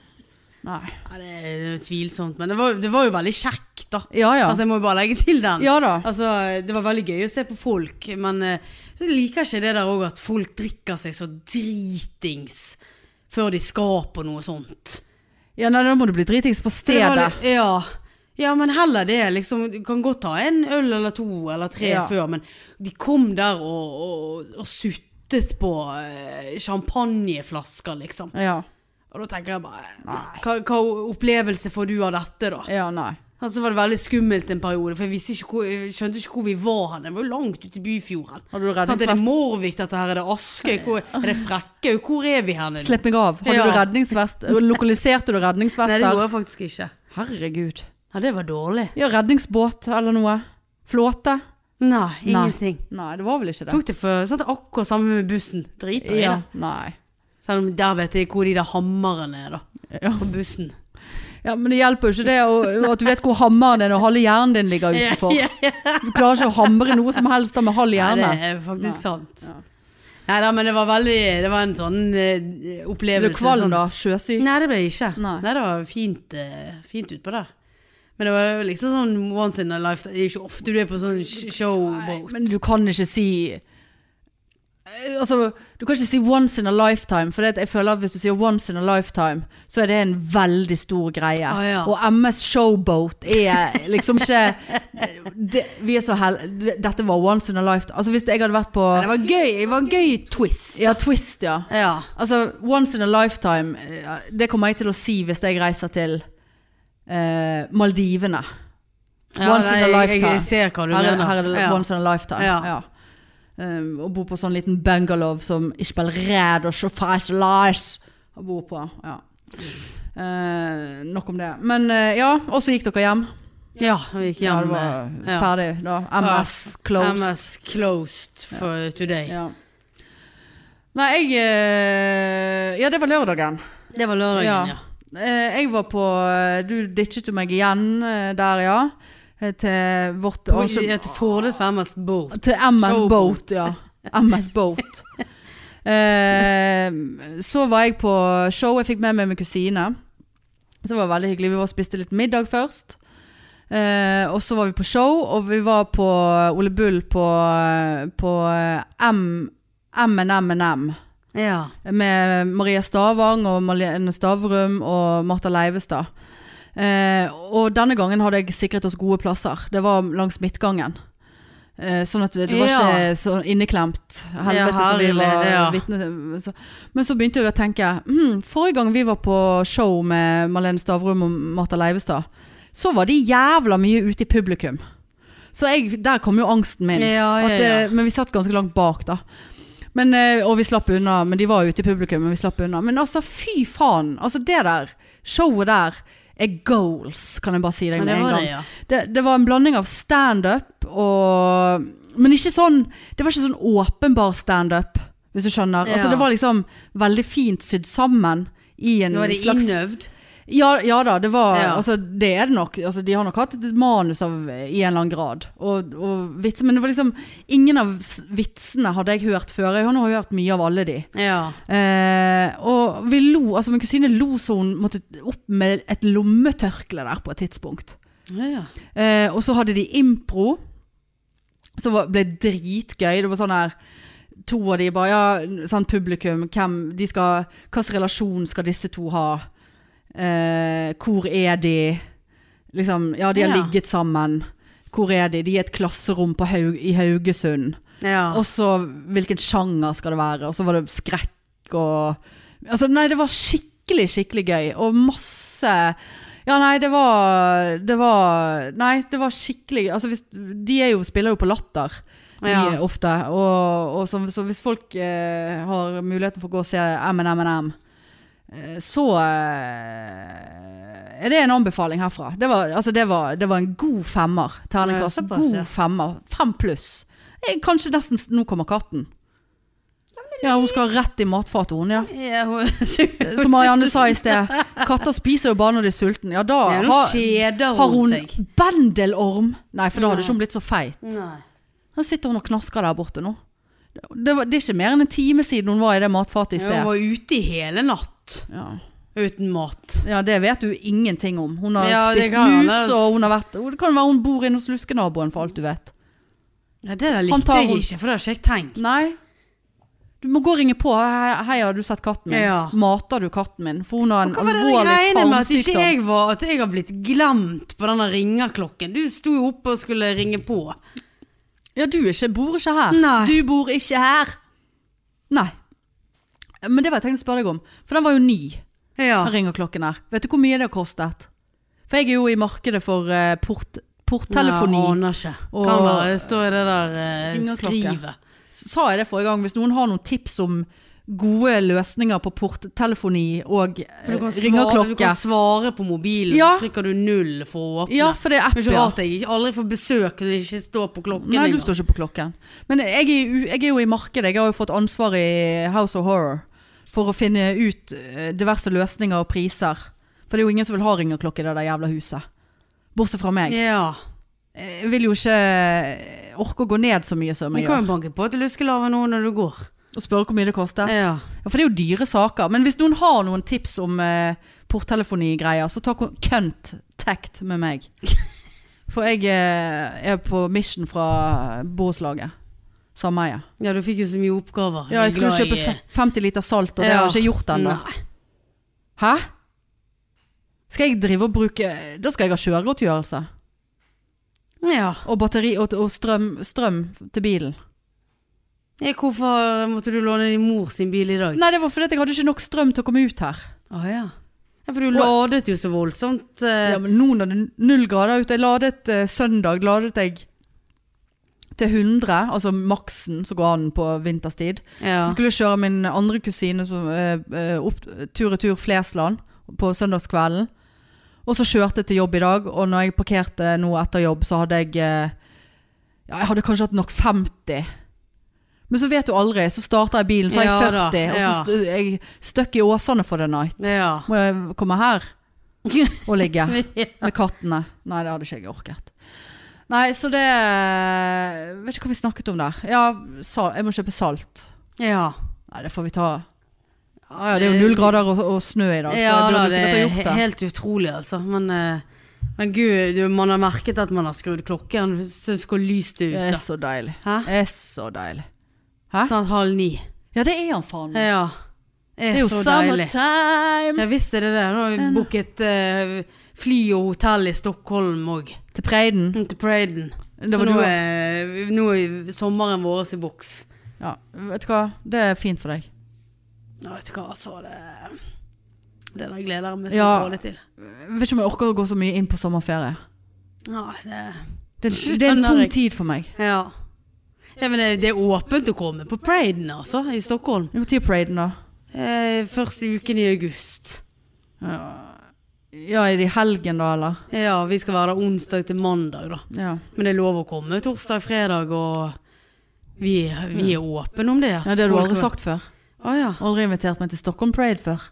Speaker 2: Nei.
Speaker 1: Ja, det er tvilsomt, men det var, det var jo veldig kjekt, da.
Speaker 2: Ja ja.
Speaker 1: Altså, jeg må jo bare legge til den.
Speaker 2: Ja da.
Speaker 1: Altså, det var veldig gøy å se på folk, men eh, så liker jeg ikke det der òg at folk drikker seg så dritings før de skal på noe sånt.
Speaker 2: Ja, nei, da må du bli dritings på
Speaker 1: For det var
Speaker 2: stedet.
Speaker 1: litt- Ja. ja, men heller det. Liksom, du kan godt ta en øl eller to eller tre
Speaker 2: Ja.
Speaker 1: før, men de kom der og, og, og suttet på eh, champagneflasker, liksom.
Speaker 2: Ja.
Speaker 1: Og da tenker jeg bare
Speaker 2: Nei.
Speaker 1: hva, hva opplevelse får du av dette, da?
Speaker 2: Ja, nei.
Speaker 1: Og så var det veldig skummelt en periode, for jeg, visste ikke hvor, jeg skjønte ikke hvor vi var hen. Jeg var jo langt ute i Byfjorden.
Speaker 2: Hadde du
Speaker 1: Sant, er Sånn det
Speaker 2: redningsvest?
Speaker 1: Morvik dette her, er det Askøy, hvor, er det Frekkøy? Hvor er vi hen?
Speaker 2: Slipp meg av. Hadde
Speaker 1: Ja.
Speaker 2: du redningsvest? Lokaliserte du
Speaker 1: Nei,
Speaker 2: redningsvest
Speaker 1: det
Speaker 2: der?
Speaker 1: gjorde jeg faktisk ikke.
Speaker 2: Herregud.
Speaker 1: Ja, det var dårlig.
Speaker 2: Ja, redningsbåt eller noe. Flåte?
Speaker 1: Nei, ingenting.
Speaker 2: Nei, det var vel ikke det.
Speaker 1: Tok det for sant, det er akkurat samme med bussen. Driter i
Speaker 2: Ja,
Speaker 1: det.
Speaker 2: nei.
Speaker 1: Selv om der vet jeg hvor de der hammerne er, da.
Speaker 2: Ja.
Speaker 1: På bussen.
Speaker 2: ja, men det hjelper jo ikke det å- at du vet hvor hammeren er når halve hjernen din ligger utenfor.
Speaker 1: Ja, ja,
Speaker 2: Du klarer ikke å hamre noe som helst da med halv
Speaker 1: ja.
Speaker 2: hjerne.
Speaker 1: Nei, det er faktisk
Speaker 2: Nei.
Speaker 1: sant.
Speaker 2: Ja.
Speaker 1: Nei da, men det var veldig Det var en sånn eh,
Speaker 2: Blir
Speaker 1: opplevelse.
Speaker 2: du kvalm
Speaker 1: sånn-
Speaker 2: da? Sjøsyk?
Speaker 1: Nei, det ble jeg ikke. Nei.
Speaker 2: Nei.
Speaker 1: det var fint, eh, fint utpå der. Men det var jo liksom sånn once in a life Det er jo ikke ofte du er på sånn sh- showboat.
Speaker 2: Men du kan ikke si eh, altså, Du kan ikke si 'once in a lifetime', for det, at jeg føler at hvis du sier 'once in a lifetime', så er det en veldig stor greie.
Speaker 1: Ah, ja.
Speaker 2: Og MS Showboat er liksom ikke det, Vi er så heldige Dette var once in a lifetime. Altså, hvis jeg hadde
Speaker 1: Men
Speaker 2: vært på
Speaker 1: Det var gøy. Det var en gøy twist.
Speaker 2: Ja, Twist, ja.
Speaker 1: Ja.
Speaker 2: Altså, once in a lifetime, eh, det kommer jeg til å si hvis jeg reiser til eh, Maldivene.
Speaker 1: ja
Speaker 2: Once in a
Speaker 1: nei, jeg,
Speaker 2: lifetime.
Speaker 1: jeg ser hva du
Speaker 2: Her, er-
Speaker 1: mener.
Speaker 2: her er det
Speaker 1: ja.
Speaker 2: once in a lifetime.
Speaker 1: Ja.
Speaker 2: Ja. Um, og bo på sånn liten bungalow som ikke blir redd og så fast lies å bo på. Ja. Eh, nok om det. Men eh, ja, og så gikk dere hjem.
Speaker 1: ja, vi gikk
Speaker 2: Ja, det
Speaker 1: hjem. eh,
Speaker 2: var
Speaker 1: ja.
Speaker 2: ferdig da. MS closed.
Speaker 1: MS closed for today.
Speaker 2: Ja. Nei, jeg eh, Ja, det var lørdagen.
Speaker 1: Det var lørdagen,
Speaker 2: Ja.
Speaker 1: ja.
Speaker 2: Eh, jeg var på eh, Du ditchet jo meg igjen eh, der, ja. Eh, til vårt
Speaker 1: Og så- ja. Til fordel for MS Boat.
Speaker 2: Til MS
Speaker 1: Showboat.
Speaker 2: Boat, ja. MS Boat. Eh, så var jeg på show. Jeg fikk med meg min kusine. Så det var veldig hyggelig. Vi var og spiste litt middag først. Eh, og så var vi på show, og vi var på Ole Bull på, eh, på M- M&M&M
Speaker 1: Ja.
Speaker 2: med Maria Stavang og Malene Stavrum og Martha Leivestad. Eh, og denne gangen hadde jeg sikret oss gode plasser. Det var langs midtgangen. Eh, sånn at det var
Speaker 1: Ja.
Speaker 2: ikke så inneklemt. Helvete
Speaker 1: Ja,
Speaker 2: som vi var
Speaker 1: herlig, ja.
Speaker 2: vitne til. Så- Men så begynte jeg å tenke hm, Forrige gang vi var på show med Malene Stavrum og Martha Leivestad, så var de jævla mye ute i publikum. Så jeg, der kom jo angsten min.
Speaker 1: Ja, ja,
Speaker 2: At, eh,
Speaker 1: ja.
Speaker 2: Men vi satt ganske langt bak da men, eh, Og vi slapp unna Men de var ute i publikum Men vi slapp unna Men altså fy faen Altså det der Showet der Er goals Kan jeg bare si deg
Speaker 1: Men
Speaker 2: med
Speaker 1: det
Speaker 2: en
Speaker 1: var
Speaker 2: gang
Speaker 1: det, ja.
Speaker 2: det, det var en blanding av stand-up og Men ikke sånn Det var ikke sånn åpenbar stand-up Hvis du skjønner
Speaker 1: Ja.
Speaker 2: Altså det var liksom Veldig fint sydd sammen I en
Speaker 1: Nå er det
Speaker 2: slags
Speaker 1: innøvd.
Speaker 2: ja, ja da, det var
Speaker 1: Ja.
Speaker 2: Altså, det er det nok. Altså, de har nok hatt et manus av, eh, i en eller annen grad. Og, og vits, men det var liksom Ingen av s- vitsene hadde jeg hørt før. Jeg har nå hørt mye av alle de.
Speaker 1: Ja.
Speaker 2: Eh, og vi lo Altså, min kusine lo så hun måtte opp med et lommetørkle der på et tidspunkt.
Speaker 1: ja.
Speaker 2: Eh, og så hadde de impro, som var, ble dritgøy. Det var sånn her To av de bare Ja, sånn publikum. Hvem de skal Hva slags relasjon skal disse to ha? Eh, hvor er de? Liksom Ja, de har
Speaker 1: Ja.
Speaker 2: ligget sammen. Hvor er de? De er i et klasserom på Haug i Haugesund.
Speaker 1: ja.
Speaker 2: Og så hvilken sjanger skal det være? Og så var det skrekk og Altså, nei, det var skikkelig, skikkelig gøy. Og masse Ja, nei, det var Det var Nei, det var skikkelig gøy. Altså, hvis, de er jo, spiller jo på latter. De
Speaker 1: Ja.
Speaker 2: ofte. Og, og så, så hvis folk eh, har muligheten for å gå og se MNMNM, eh, så eh, er det en anbefaling herfra. Det var, altså, det var, det var en god femmer. Terningkast.
Speaker 1: Ja, såpass, ja.
Speaker 2: god femmer. Fem pluss. Eh, Kanskje nesten s- Nå kommer katten. Ja, hun skal rett i matfatet, hun. ja
Speaker 1: Ja, hun-
Speaker 2: Som Marianne sa i sted. Katter spiser jo bare når de er sultne. Ja, da
Speaker 1: Ja, nå
Speaker 2: har,
Speaker 1: kjeder
Speaker 2: har
Speaker 1: hun
Speaker 2: hun
Speaker 1: seg.
Speaker 2: bendelorm. Nei, for da hadde
Speaker 1: Nei.
Speaker 2: ikke hun blitt så feit.
Speaker 1: Nei.
Speaker 2: Nå sitter hun og knasker der borte nå. Det, var, det er ikke mer enn en time siden hun var i det matfatet i
Speaker 1: Hun
Speaker 2: sted.
Speaker 1: var ute i hele natt
Speaker 2: Ja.
Speaker 1: uten mat.
Speaker 2: ja, det vet du ingenting om. Hun har
Speaker 1: Ja, det
Speaker 2: spist
Speaker 1: kan
Speaker 2: mus,
Speaker 1: hende.
Speaker 2: og hun har vært Det kan være hun bor inne hos luskenaboen, for alt du vet.
Speaker 1: Ja, det der
Speaker 2: Han
Speaker 1: likte
Speaker 2: tar
Speaker 1: jeg
Speaker 2: hun-
Speaker 1: ikke, for det har ikke jeg tenkt.
Speaker 2: Nei. Du må gå og ringe på. Hei, hei, har du sett katten min?
Speaker 1: Ja.
Speaker 2: Mater du katten min? For hun har en
Speaker 1: Hva var det jeg
Speaker 2: alvorlig
Speaker 1: regnet med at ikke
Speaker 2: tarmsykdom.
Speaker 1: jeg var At jeg har blitt glemt på denne ringerklokken? Du sto jo oppe og skulle ringe på.
Speaker 2: Ja, du er ikke, bor ikke her.
Speaker 1: Nei.
Speaker 2: Du bor ikke her. Nei. Men det var jeg tenkt å spørre deg om. For den var jo ny.
Speaker 1: Ja.
Speaker 2: Her ringer klokken her. Vet du hvor mye det har kostet? For jeg er jo i markedet for eh, port, porttelefoni.
Speaker 1: Nei, aner ikke.
Speaker 2: Og-
Speaker 1: Kan være det står i det der eh,
Speaker 2: Ringerklokke.
Speaker 1: skrivet.
Speaker 2: Sa jeg det forrige gang? Hvis noen har noen tips om gode løsninger på porttelefoni og eh,
Speaker 1: For du kan, svare, du
Speaker 2: ringeklokke
Speaker 1: kan svare på mobilen,
Speaker 2: Ja.
Speaker 1: så trykker du null for å åpne.
Speaker 2: Ja, for det er
Speaker 1: Det er ikke
Speaker 2: apper.
Speaker 1: rart jeg aldri får besøk når jeg ikke står på klokken
Speaker 2: Nei, du
Speaker 1: engang.
Speaker 2: står ikke på klokken. Men jeg er, jo- jeg er jo i markedet. Jeg har jo fått ansvar i House of Horror for å finne ut eh, diverse løsninger og priser. For det er jo ingen som vil ha ringeklokke i det der jævla huset. Bortsett fra meg. Eh,
Speaker 1: Ja.
Speaker 2: Jeg vil jo ikke eh, orke å gå ned så mye som
Speaker 1: Men
Speaker 2: jeg
Speaker 1: kan
Speaker 2: gjør.
Speaker 1: jo banke på til luskelaven nå når du går.
Speaker 2: Og spørre hvor mye det koster.
Speaker 1: Ja.
Speaker 2: Ja, for det er jo dyre saker. Men hvis noen har noen tips om eh, porttelefonigreier, så ta kon- contact med meg. For jeg eh, er på mission fra eh, borettslaget. sameie.
Speaker 1: Ja, du fikk jo så mye oppgaver.
Speaker 2: Ja, jeg skulle
Speaker 1: glad
Speaker 2: kjøpe
Speaker 1: i-
Speaker 2: fe- 50 liter salt, og det har jeg ikke gjort ennå.
Speaker 1: Nei.
Speaker 2: Hæ? Skal jeg drive og bruke Da skal jeg ha kjøregodtgjørelse.
Speaker 1: Ja.
Speaker 2: Og batteri og, og strøm, strøm til bilen.
Speaker 1: Eh, Hvorfor måtte du låne din mor sin bil i dag?
Speaker 2: Nei, det var fordi at jeg hadde ikke nok strøm til å komme ut her.
Speaker 1: Å ja. ja. For du ladet jo så voldsomt. eh,
Speaker 2: Ja, men nå når det er null grader ute Jeg ladet eh, søndag ladet jeg til 100, altså maksen som går an på vinterstid.
Speaker 1: ja.
Speaker 2: Så skulle jeg kjøre min andre kusine som, eh, eh, opp tur-retur Flesland på søndagskvelden. Og så kjørte jeg til jobb i dag, og når jeg parkerte nå etter jobb, så hadde jeg eh, Ja, jeg hadde kanskje hatt nok 50. Men så vet du aldri. Så starter jeg bilen, så har jeg
Speaker 1: Ja
Speaker 2: 40.
Speaker 1: da, ja.
Speaker 2: Og så st jeg stuck i Åsane for the night.
Speaker 1: ja.
Speaker 2: Må jeg komme her og ligge
Speaker 1: ja.
Speaker 2: med kattene? Nei, det hadde ikke jeg orket. Nei, så det eh, Vet ikke hva vi snakket om der. Ja, sal, jeg må kjøpe salt.
Speaker 1: Ja.
Speaker 2: Nei, det får vi ta. Ja, ja, det er jo null grader og, og snø i dag, så jeg burde
Speaker 1: da,
Speaker 2: jo
Speaker 1: det
Speaker 2: sikkert ha
Speaker 1: er
Speaker 2: gjort
Speaker 1: he-
Speaker 2: det.
Speaker 1: helt utrolig, altså. Men, eh, men gud, du, man har merket at man har skrudd klokken. Så hvor lyst det
Speaker 2: Det
Speaker 1: er
Speaker 2: er
Speaker 1: ute.
Speaker 2: så deilig.
Speaker 1: Hæ?
Speaker 2: Det er så deilig.
Speaker 1: Snart halv ni.
Speaker 2: Ja, det er han faen. meg.
Speaker 1: Ja.
Speaker 2: Mm. Det
Speaker 1: Det
Speaker 2: er jo Mm.
Speaker 1: så deilig.
Speaker 2: summertime!
Speaker 1: Ja visst er det det. Nå har vi booket eh, fly og hotell i Stockholm òg.
Speaker 2: Til Preiden.
Speaker 1: Til Praden.
Speaker 2: Det
Speaker 1: Mm. Så
Speaker 2: var
Speaker 1: nå
Speaker 2: du
Speaker 1: er, eh, nå er sommeren vår i boks.
Speaker 2: Ja, vet du hva? Det er fint for deg.
Speaker 1: Ja, vet du hva, altså. Det, det der gleder jeg meg så
Speaker 2: Ja.
Speaker 1: dårlig til.
Speaker 2: Jeg vet ikke om jeg orker å gå så mye inn på sommerferie.
Speaker 1: Nei, det
Speaker 2: Det, det er en
Speaker 1: Skjønner
Speaker 2: tung
Speaker 1: jeg.
Speaker 2: tid for meg.
Speaker 1: Ja. ja men det, det er åpent å komme på Praden, altså, i Stockholm.
Speaker 2: Når er Preiden, da?
Speaker 1: Eh, første uken i august.
Speaker 2: Ja, er det i helgen da, eller?
Speaker 1: Ja, vi skal være der onsdag til mandag, da.
Speaker 2: Ja,
Speaker 1: Men det er lov å komme torsdag, fredag, og vi, vi er åpne om det. at
Speaker 2: ja det har du
Speaker 1: folk-
Speaker 2: aldri sagt før.
Speaker 1: Å ja.
Speaker 2: Aldri invitert meg til Stockholm Parade før.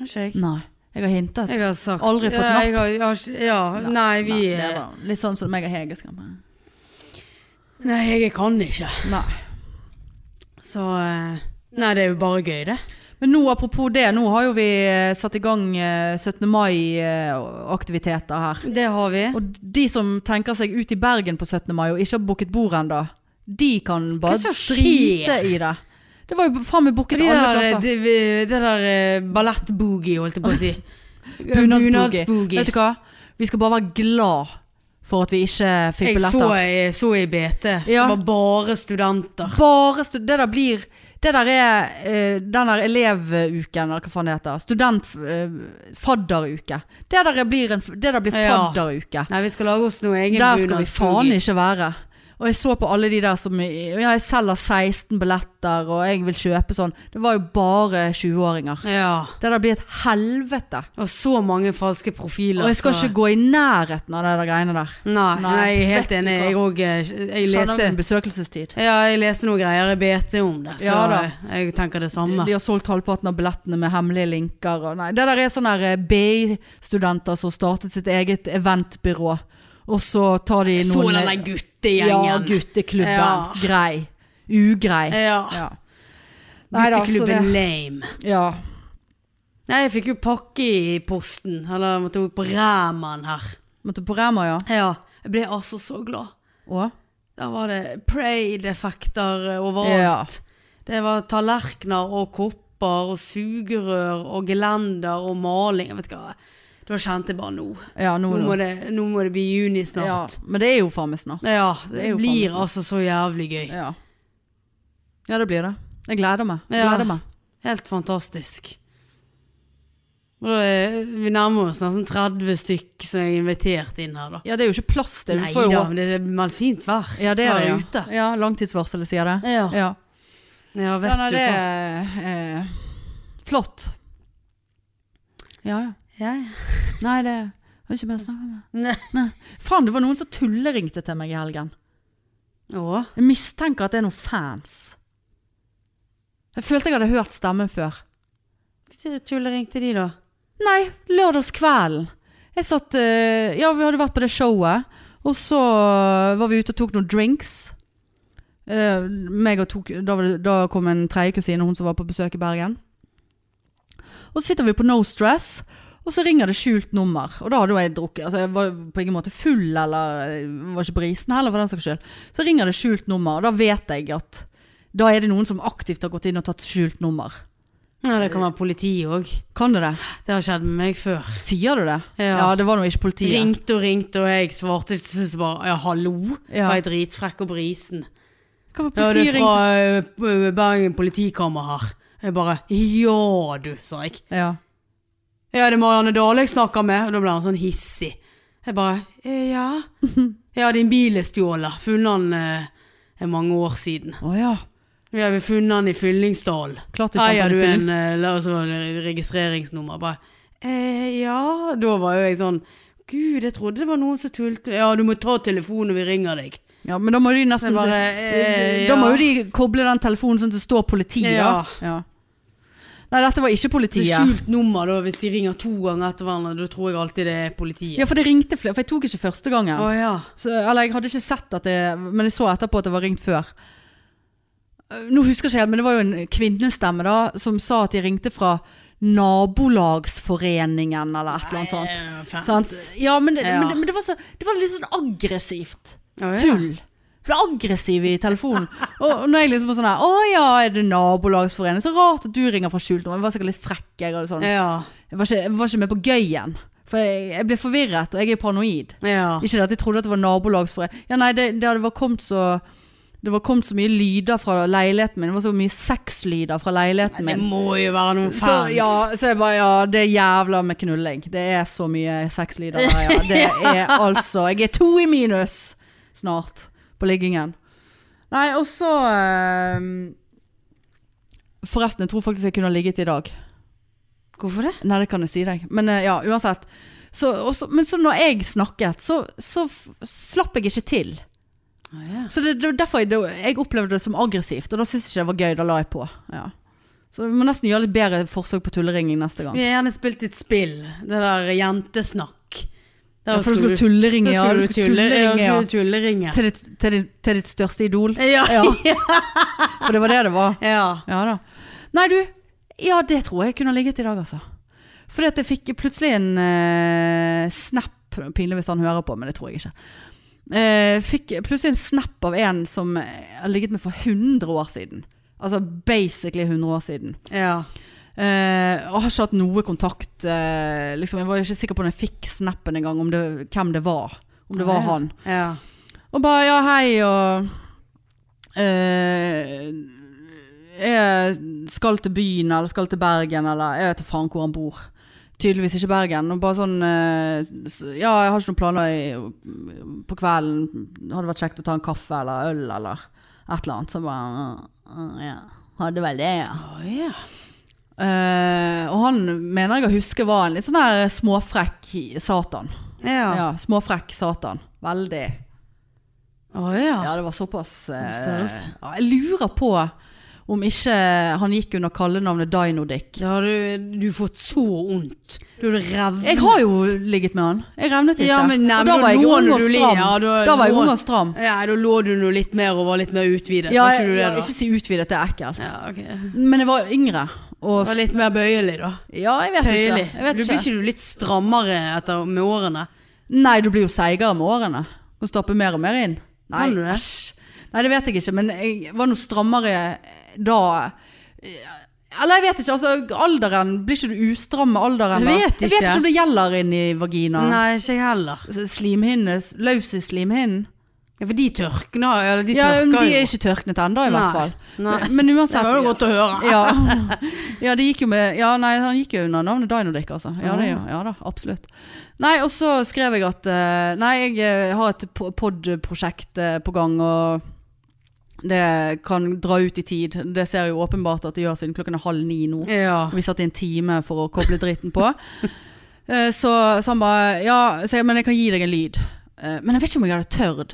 Speaker 1: Har ikke jeg.
Speaker 2: Nei, jeg har hintet.
Speaker 1: Jeg har sagt
Speaker 2: Mm. Aldri fått
Speaker 1: ja, jeg har, jeg har, ikke- Ja, nei, vi
Speaker 2: Nei, det var litt sånn som meg og Hege skal med.
Speaker 1: Nei, jeg kan ikke.
Speaker 2: Nei.
Speaker 1: Så eh, Nei, det er jo bare gøy, det.
Speaker 2: Men nå, apropos det, nå har jo vi eh, satt i gang eh, 17. mai-aktiviteter her.
Speaker 1: Det har vi.
Speaker 2: Og de som tenker seg ut i Bergen på 17. mai og ikke har booket bord ennå, de kan bare
Speaker 1: som skjer?
Speaker 2: drite i det. Det var jo faen meg
Speaker 1: De
Speaker 2: booket alle
Speaker 1: der,
Speaker 2: plasser.
Speaker 1: det, det der eh, ballett-boogie, holdt jeg på å si.
Speaker 2: Bunadsboogie.
Speaker 1: Bunadsboogie.
Speaker 2: Vet du hva? Vi skal bare være glad for at vi ikke fikk
Speaker 1: Jeg så,
Speaker 2: billetter.
Speaker 1: jeg så i BT.
Speaker 2: Ja.
Speaker 1: Det var bare studenter.
Speaker 2: Bare stu det der blir Det der er eh, den der elevuken, eller hva faen det heter. Student... eh, fadderuke. Det der blir, en, f- det der blir
Speaker 1: Ja.
Speaker 2: fadderuke.
Speaker 1: Nei, vi skal lage oss noe egen
Speaker 2: Der skal vi faen
Speaker 1: bunadsboogie.
Speaker 2: ikke være. Og jeg så på alle de der som Ja, jeg selger 16 billetter, og jeg vil kjøpe sånn. Det var jo bare 20-åringer.
Speaker 1: Ja.
Speaker 2: Det der blir et helvete.
Speaker 1: Og så mange falske profiler.
Speaker 2: Og jeg skal
Speaker 1: så-
Speaker 2: ikke gå i nærheten av de der greiene der.
Speaker 1: Nei,
Speaker 2: Nei,
Speaker 1: nei, jeg er helt
Speaker 2: vet du
Speaker 1: enig.
Speaker 2: hva?
Speaker 1: Jeg òg Jeg
Speaker 2: Kjenner
Speaker 1: leste
Speaker 2: min besøkelsestid.
Speaker 1: ja, jeg leste noen greier i BT om det, så
Speaker 2: Ja da.
Speaker 1: eh, jeg tenker det
Speaker 2: De,
Speaker 1: samme.
Speaker 2: de har solgt halvparten av billettene med hemmelige linker. Og nei, det der er sånne der, eh, BI-studenter som startet sitt eget eventbyrå. Og så tar de
Speaker 1: Jeg så
Speaker 2: noen
Speaker 1: den der guttegjengen.
Speaker 2: Ja, gutteklubben.
Speaker 1: Ja.
Speaker 2: Grei. Ugrei.
Speaker 1: Ja.
Speaker 2: Ja. Nei da, så
Speaker 1: Gutteklubben
Speaker 2: det-
Speaker 1: Lame.
Speaker 2: Ja.
Speaker 1: Nei, jeg fikk jo pakke i posten. Eller jeg måtte opp på Ræman her.
Speaker 2: Måtte på Rema, ja.
Speaker 1: Ja, jeg ble altså så glad.
Speaker 2: Og?
Speaker 1: Der var det Prade-effekter overalt. Det var tallerkener og kopper og sugerør og gelender og maling. Jeg vet ikke hva. Da kjente jeg bare nå.
Speaker 2: Ja, nå,
Speaker 1: Nå
Speaker 2: nå.
Speaker 1: må det, nå må det bli juni
Speaker 2: Ja,
Speaker 1: snart.
Speaker 2: men det er jo faen meg snart.
Speaker 1: Ja,
Speaker 2: Det er
Speaker 1: det
Speaker 2: jo
Speaker 1: blir
Speaker 2: faen meg
Speaker 1: altså så jævlig gøy.
Speaker 2: Ja. ja, det blir det. Jeg gleder meg. Jeg
Speaker 1: Ja.
Speaker 2: gleder meg.
Speaker 1: Helt fantastisk. Og da er, vi nærmer oss nesten 30 stykk som jeg er invitert inn her, da.
Speaker 2: Ja, det er jo ikke plass til.
Speaker 1: Nei
Speaker 2: Du får jo
Speaker 1: da, men det er men fint vær.
Speaker 2: Ja, det er
Speaker 1: Skal være
Speaker 2: det. Ja.
Speaker 1: ute.
Speaker 2: ja, langtidsvarselet sier det.
Speaker 1: Ja,
Speaker 2: Ja.
Speaker 1: ja vet
Speaker 2: Ja, nei,
Speaker 1: du
Speaker 2: det
Speaker 1: hva.
Speaker 2: er eh, flott. Ja, ja.
Speaker 1: Ja,
Speaker 2: Nei, det har ikke mer å snakke om.
Speaker 1: ja.
Speaker 2: Faen, det var noen som tulleringte til meg i helgen.
Speaker 1: Å,
Speaker 2: Jeg mistenker at det er noen fans. Jeg følte jeg hadde hørt stemmen før.
Speaker 1: hva tulleringte de, da?
Speaker 2: Nei, lørdagskvelden. Jeg satt eh, Ja, vi hadde vært på det showet, og så eh, var vi ute og tok noen drinks. Eh, meg og tok, da, var det, da kom en tredje kusine, hun som var på besøk i Bergen. Og så sitter vi på No Stress, Og så ringer det skjult nummer, og da hadde jo jeg drukket. Altså, jeg var på ingen måte full, eller eh, var ikke brisen heller, for den saks skyld. Så ringer det skjult nummer, og da vet jeg at da er det noen som aktivt har gått inn og tatt skjult nummer.
Speaker 1: Ja, det kan være politiet òg.
Speaker 2: Kan du det?
Speaker 1: Det har skjedd med meg før.
Speaker 2: Sier du det?
Speaker 1: Ja.
Speaker 2: det var nå ikke politiet.
Speaker 1: Ringte og ringte, og jeg svarte til slutt bare ja, hallo.
Speaker 2: Ja.
Speaker 1: Var jeg dritfrekk og brisen.
Speaker 2: Hva var
Speaker 1: Ja, det
Speaker 2: politiet
Speaker 1: er
Speaker 2: ringte?
Speaker 1: fra eh, Bergen politikammer her. Jeg bare ja, du, sa jeg.
Speaker 2: Ja.
Speaker 1: Ja, det er Marianne Dahle jeg snakker med. Og da ble han sånn hissig. Jeg bare, «Eh, ja. Ja, din bil er stjålet. Funnet han eh, er mange år siden.
Speaker 2: Å ja.
Speaker 1: Ja, vi funnet han i Fyllingsdalen.
Speaker 2: Klart ikke
Speaker 1: Her
Speaker 2: at
Speaker 1: har
Speaker 2: det
Speaker 1: du en
Speaker 2: finnes.
Speaker 1: eh, la oss ha det registreringsnummer. Bare, eh, ja. Da var jo jeg sånn, gud, jeg trodde det var noen som tulte. Ja, du må ta telefonen, vi ringer deg.
Speaker 2: Ja, men da må de nesten
Speaker 1: Jeg bare, eh,
Speaker 2: Da må
Speaker 1: ja.
Speaker 2: jo de koble den telefonen sånn at det står politiet.
Speaker 1: Ja.
Speaker 2: ja. Nei, dette var ikke
Speaker 1: Så
Speaker 2: politiet.
Speaker 1: skjult nummer da, hvis de ringer to ganger etter hverandre, da tror jeg alltid det er politiet.
Speaker 2: Ja, for det ringte flere, for jeg tok ikke første gangen.
Speaker 1: Å ja.
Speaker 2: Så, eller jeg hadde ikke sett at det, men jeg så etterpå at det var ringt før. Eh, Nå husker jeg ikke helt, men det var jo en kvinnestemme da, som sa at de ringte fra nabolagsforeningen eller et eller annet sånt.
Speaker 1: Eh,
Speaker 2: Sant? Ja, men, det,
Speaker 1: Ja.
Speaker 2: men, det, men det, var så, det var litt sånn aggressivt.
Speaker 1: Å, ja.
Speaker 2: Tull. Ble aggressiv i telefonen. og, og når jeg liksom var sånn her, å ja, er det nabolagsforening? Så rart at du ringer fra skjult nummer. Jeg var sikkert litt frekk, jeg. Og sånn.
Speaker 1: Ja,
Speaker 2: Jeg, var ikke, jeg var ikke med på gøyen. For jeg, jeg ble forvirret, og jeg er paranoid.
Speaker 1: ja.
Speaker 2: Ikke det at jeg trodde at det var nabolagsforening. Ja, nei, det, det hadde bare kommet så det var kommet så mye lyder fra leiligheten min. Det var så mye sexlyder fra leiligheten
Speaker 1: Det
Speaker 2: min.
Speaker 1: må jo være noen
Speaker 2: Så,
Speaker 1: fans.
Speaker 2: ja, så jeg bare, ja, det er jævla med knulling. Det er så mye sexlyder der, ja. Det er altså Jeg er to i minus snart på liggingen. Nei, og så ehm, Forresten, jeg tror faktisk jeg kunne ha ligget i dag.
Speaker 1: Hvorfor det?
Speaker 2: Nei, det kan jeg si deg. Men eh, ja, uansett. Så, og så- men så når jeg snakket, så, så f- slapp jeg ikke til. Så det, det var derfor jeg, det- jeg opplevde det som aggressivt, og da syntes jeg ikke det var gøy. Da la jeg på. Ja. Så vi må nesten gjøre litt bedre forsøk på tulleringing neste gang.
Speaker 1: Vi har gjerne spilt et spill. Det der jentesnakk. Der
Speaker 2: Ja, for du skulle
Speaker 1: du-
Speaker 2: tulleringe,
Speaker 1: da
Speaker 2: ja.
Speaker 1: skulle
Speaker 2: Du
Speaker 1: du
Speaker 2: skulle
Speaker 1: tulleringe, ja.
Speaker 2: tulleringe, ja.
Speaker 1: Skulle du tulleringe.
Speaker 2: Til ditt, til, ditt, til ditt største idol.
Speaker 1: Ja.
Speaker 2: Ja. For det var det det var.
Speaker 1: ja.
Speaker 2: Ja da. Nei, du. Ja, det tror jeg kunne ha ligget i dag, altså. Fordi at jeg fikk plutselig en eh, snap Pinlig hvis han hører på, men det tror jeg ikke. Eh, fikk plutselig en snap av en som eh, har ligget med for 100 år siden. Altså basically 100 år siden.
Speaker 1: Ja.
Speaker 2: Eh, og har ikke hatt noe kontakt eh, liksom, Jeg var ikke sikker på når jeg fikk snappen engang, om det- hvem det var. Om det var
Speaker 1: Ja.
Speaker 2: han.
Speaker 1: Ja.
Speaker 2: Og bare ja, hei og eh, Jeg skal til byen eller skal til Bergen eller jeg vet da faen hvor han bor. Tydeligvis ikke Bergen. Og bare sånn eh, s- Ja, jeg har ikke noen planer i, på kvelden. Hadde vært kjekt å ta en kaffe eller øl eller et eller annet. Så bare «Mm, Ja. Hadde vel det, ja.
Speaker 1: Å ja.
Speaker 2: Eh, og han mener jeg å huske var en litt sånn der småfrekk satan.
Speaker 1: Ja.
Speaker 2: Ja, småfrekk satan. Veldig.
Speaker 1: Å ja.
Speaker 2: Ja, det var såpass eh,
Speaker 1: Størrelse.
Speaker 2: ja, Jeg lurer på om ikke han gikk under kallenavnet Dino-Dick.
Speaker 1: Da har du, du fått så vondt. Du hadde revnet.
Speaker 2: Jeg har jo ligget med han. Jeg revnet ikke.
Speaker 1: Ja, men nei,
Speaker 2: og
Speaker 1: men
Speaker 2: da
Speaker 1: da
Speaker 2: var jeg
Speaker 1: lå
Speaker 2: ung
Speaker 1: du
Speaker 2: og
Speaker 1: li-
Speaker 2: stram.
Speaker 1: ja, da-
Speaker 2: da var jeg
Speaker 1: lå-
Speaker 2: ung og stram.
Speaker 1: Ja, da lå du nå litt mer og var litt mer utvidet.
Speaker 2: Ja,
Speaker 1: var
Speaker 2: jeg,
Speaker 1: ikke du det,
Speaker 2: ja,
Speaker 1: da?
Speaker 2: ikke si utvidet, det er ekkelt.
Speaker 1: Ja, ok.
Speaker 2: Men jeg var yngre.
Speaker 1: Du
Speaker 2: Og
Speaker 1: var litt mer bøyelig, da.
Speaker 2: ja, jeg vet
Speaker 1: Tøyelig.
Speaker 2: ikke. Jeg vet
Speaker 1: du blir
Speaker 2: ikke.
Speaker 1: ikke du litt strammere etter, med årene?
Speaker 2: Nei, du blir jo seigere med årene. Du stapper mer og mer inn. Nei,
Speaker 1: Kan du det?
Speaker 2: æsj. Nei, det vet jeg ikke, men jeg var noe strammere eh, da. Eller jeg vet ikke, altså alderen, blir ikke du ustram med alderen da?
Speaker 1: Jeg vet
Speaker 2: Jeg vet
Speaker 1: ikke.
Speaker 2: ikke om det gjelder inn i vaginaen.
Speaker 1: Nei, ikke jeg heller.
Speaker 2: Slimhinne, s- løs i slimhinnen.
Speaker 1: Ja, for de tørkner, eller de
Speaker 2: Ja, men
Speaker 1: tørker
Speaker 2: de
Speaker 1: jo.
Speaker 2: er ikke tørknet enda i hvert
Speaker 1: Nei,
Speaker 2: fall.
Speaker 1: nei.
Speaker 2: Men- Men
Speaker 1: Det
Speaker 2: uansett.
Speaker 1: var jo godt å høre.
Speaker 2: ja. ja, det gikk jo med Ja, nei, han gikk jo under navnet Dynodic, altså. Ja, det, ja da, absolutt. Nei, og så skrev jeg at eh, Nei, jeg eh, har et po- pod-prosjekt eh, på gang, og det kan dra ut i tid. Det ser jeg jo åpenbart at det gjør siden klokken er halv ni nå.
Speaker 1: Ja.
Speaker 2: Vi satt i en time for å koble dritten på. Eh, Så, så han bare Ja, så jeg, men jeg kan gi deg en lyd. Eh, Men jeg vet ikke om jeg hadde tørt.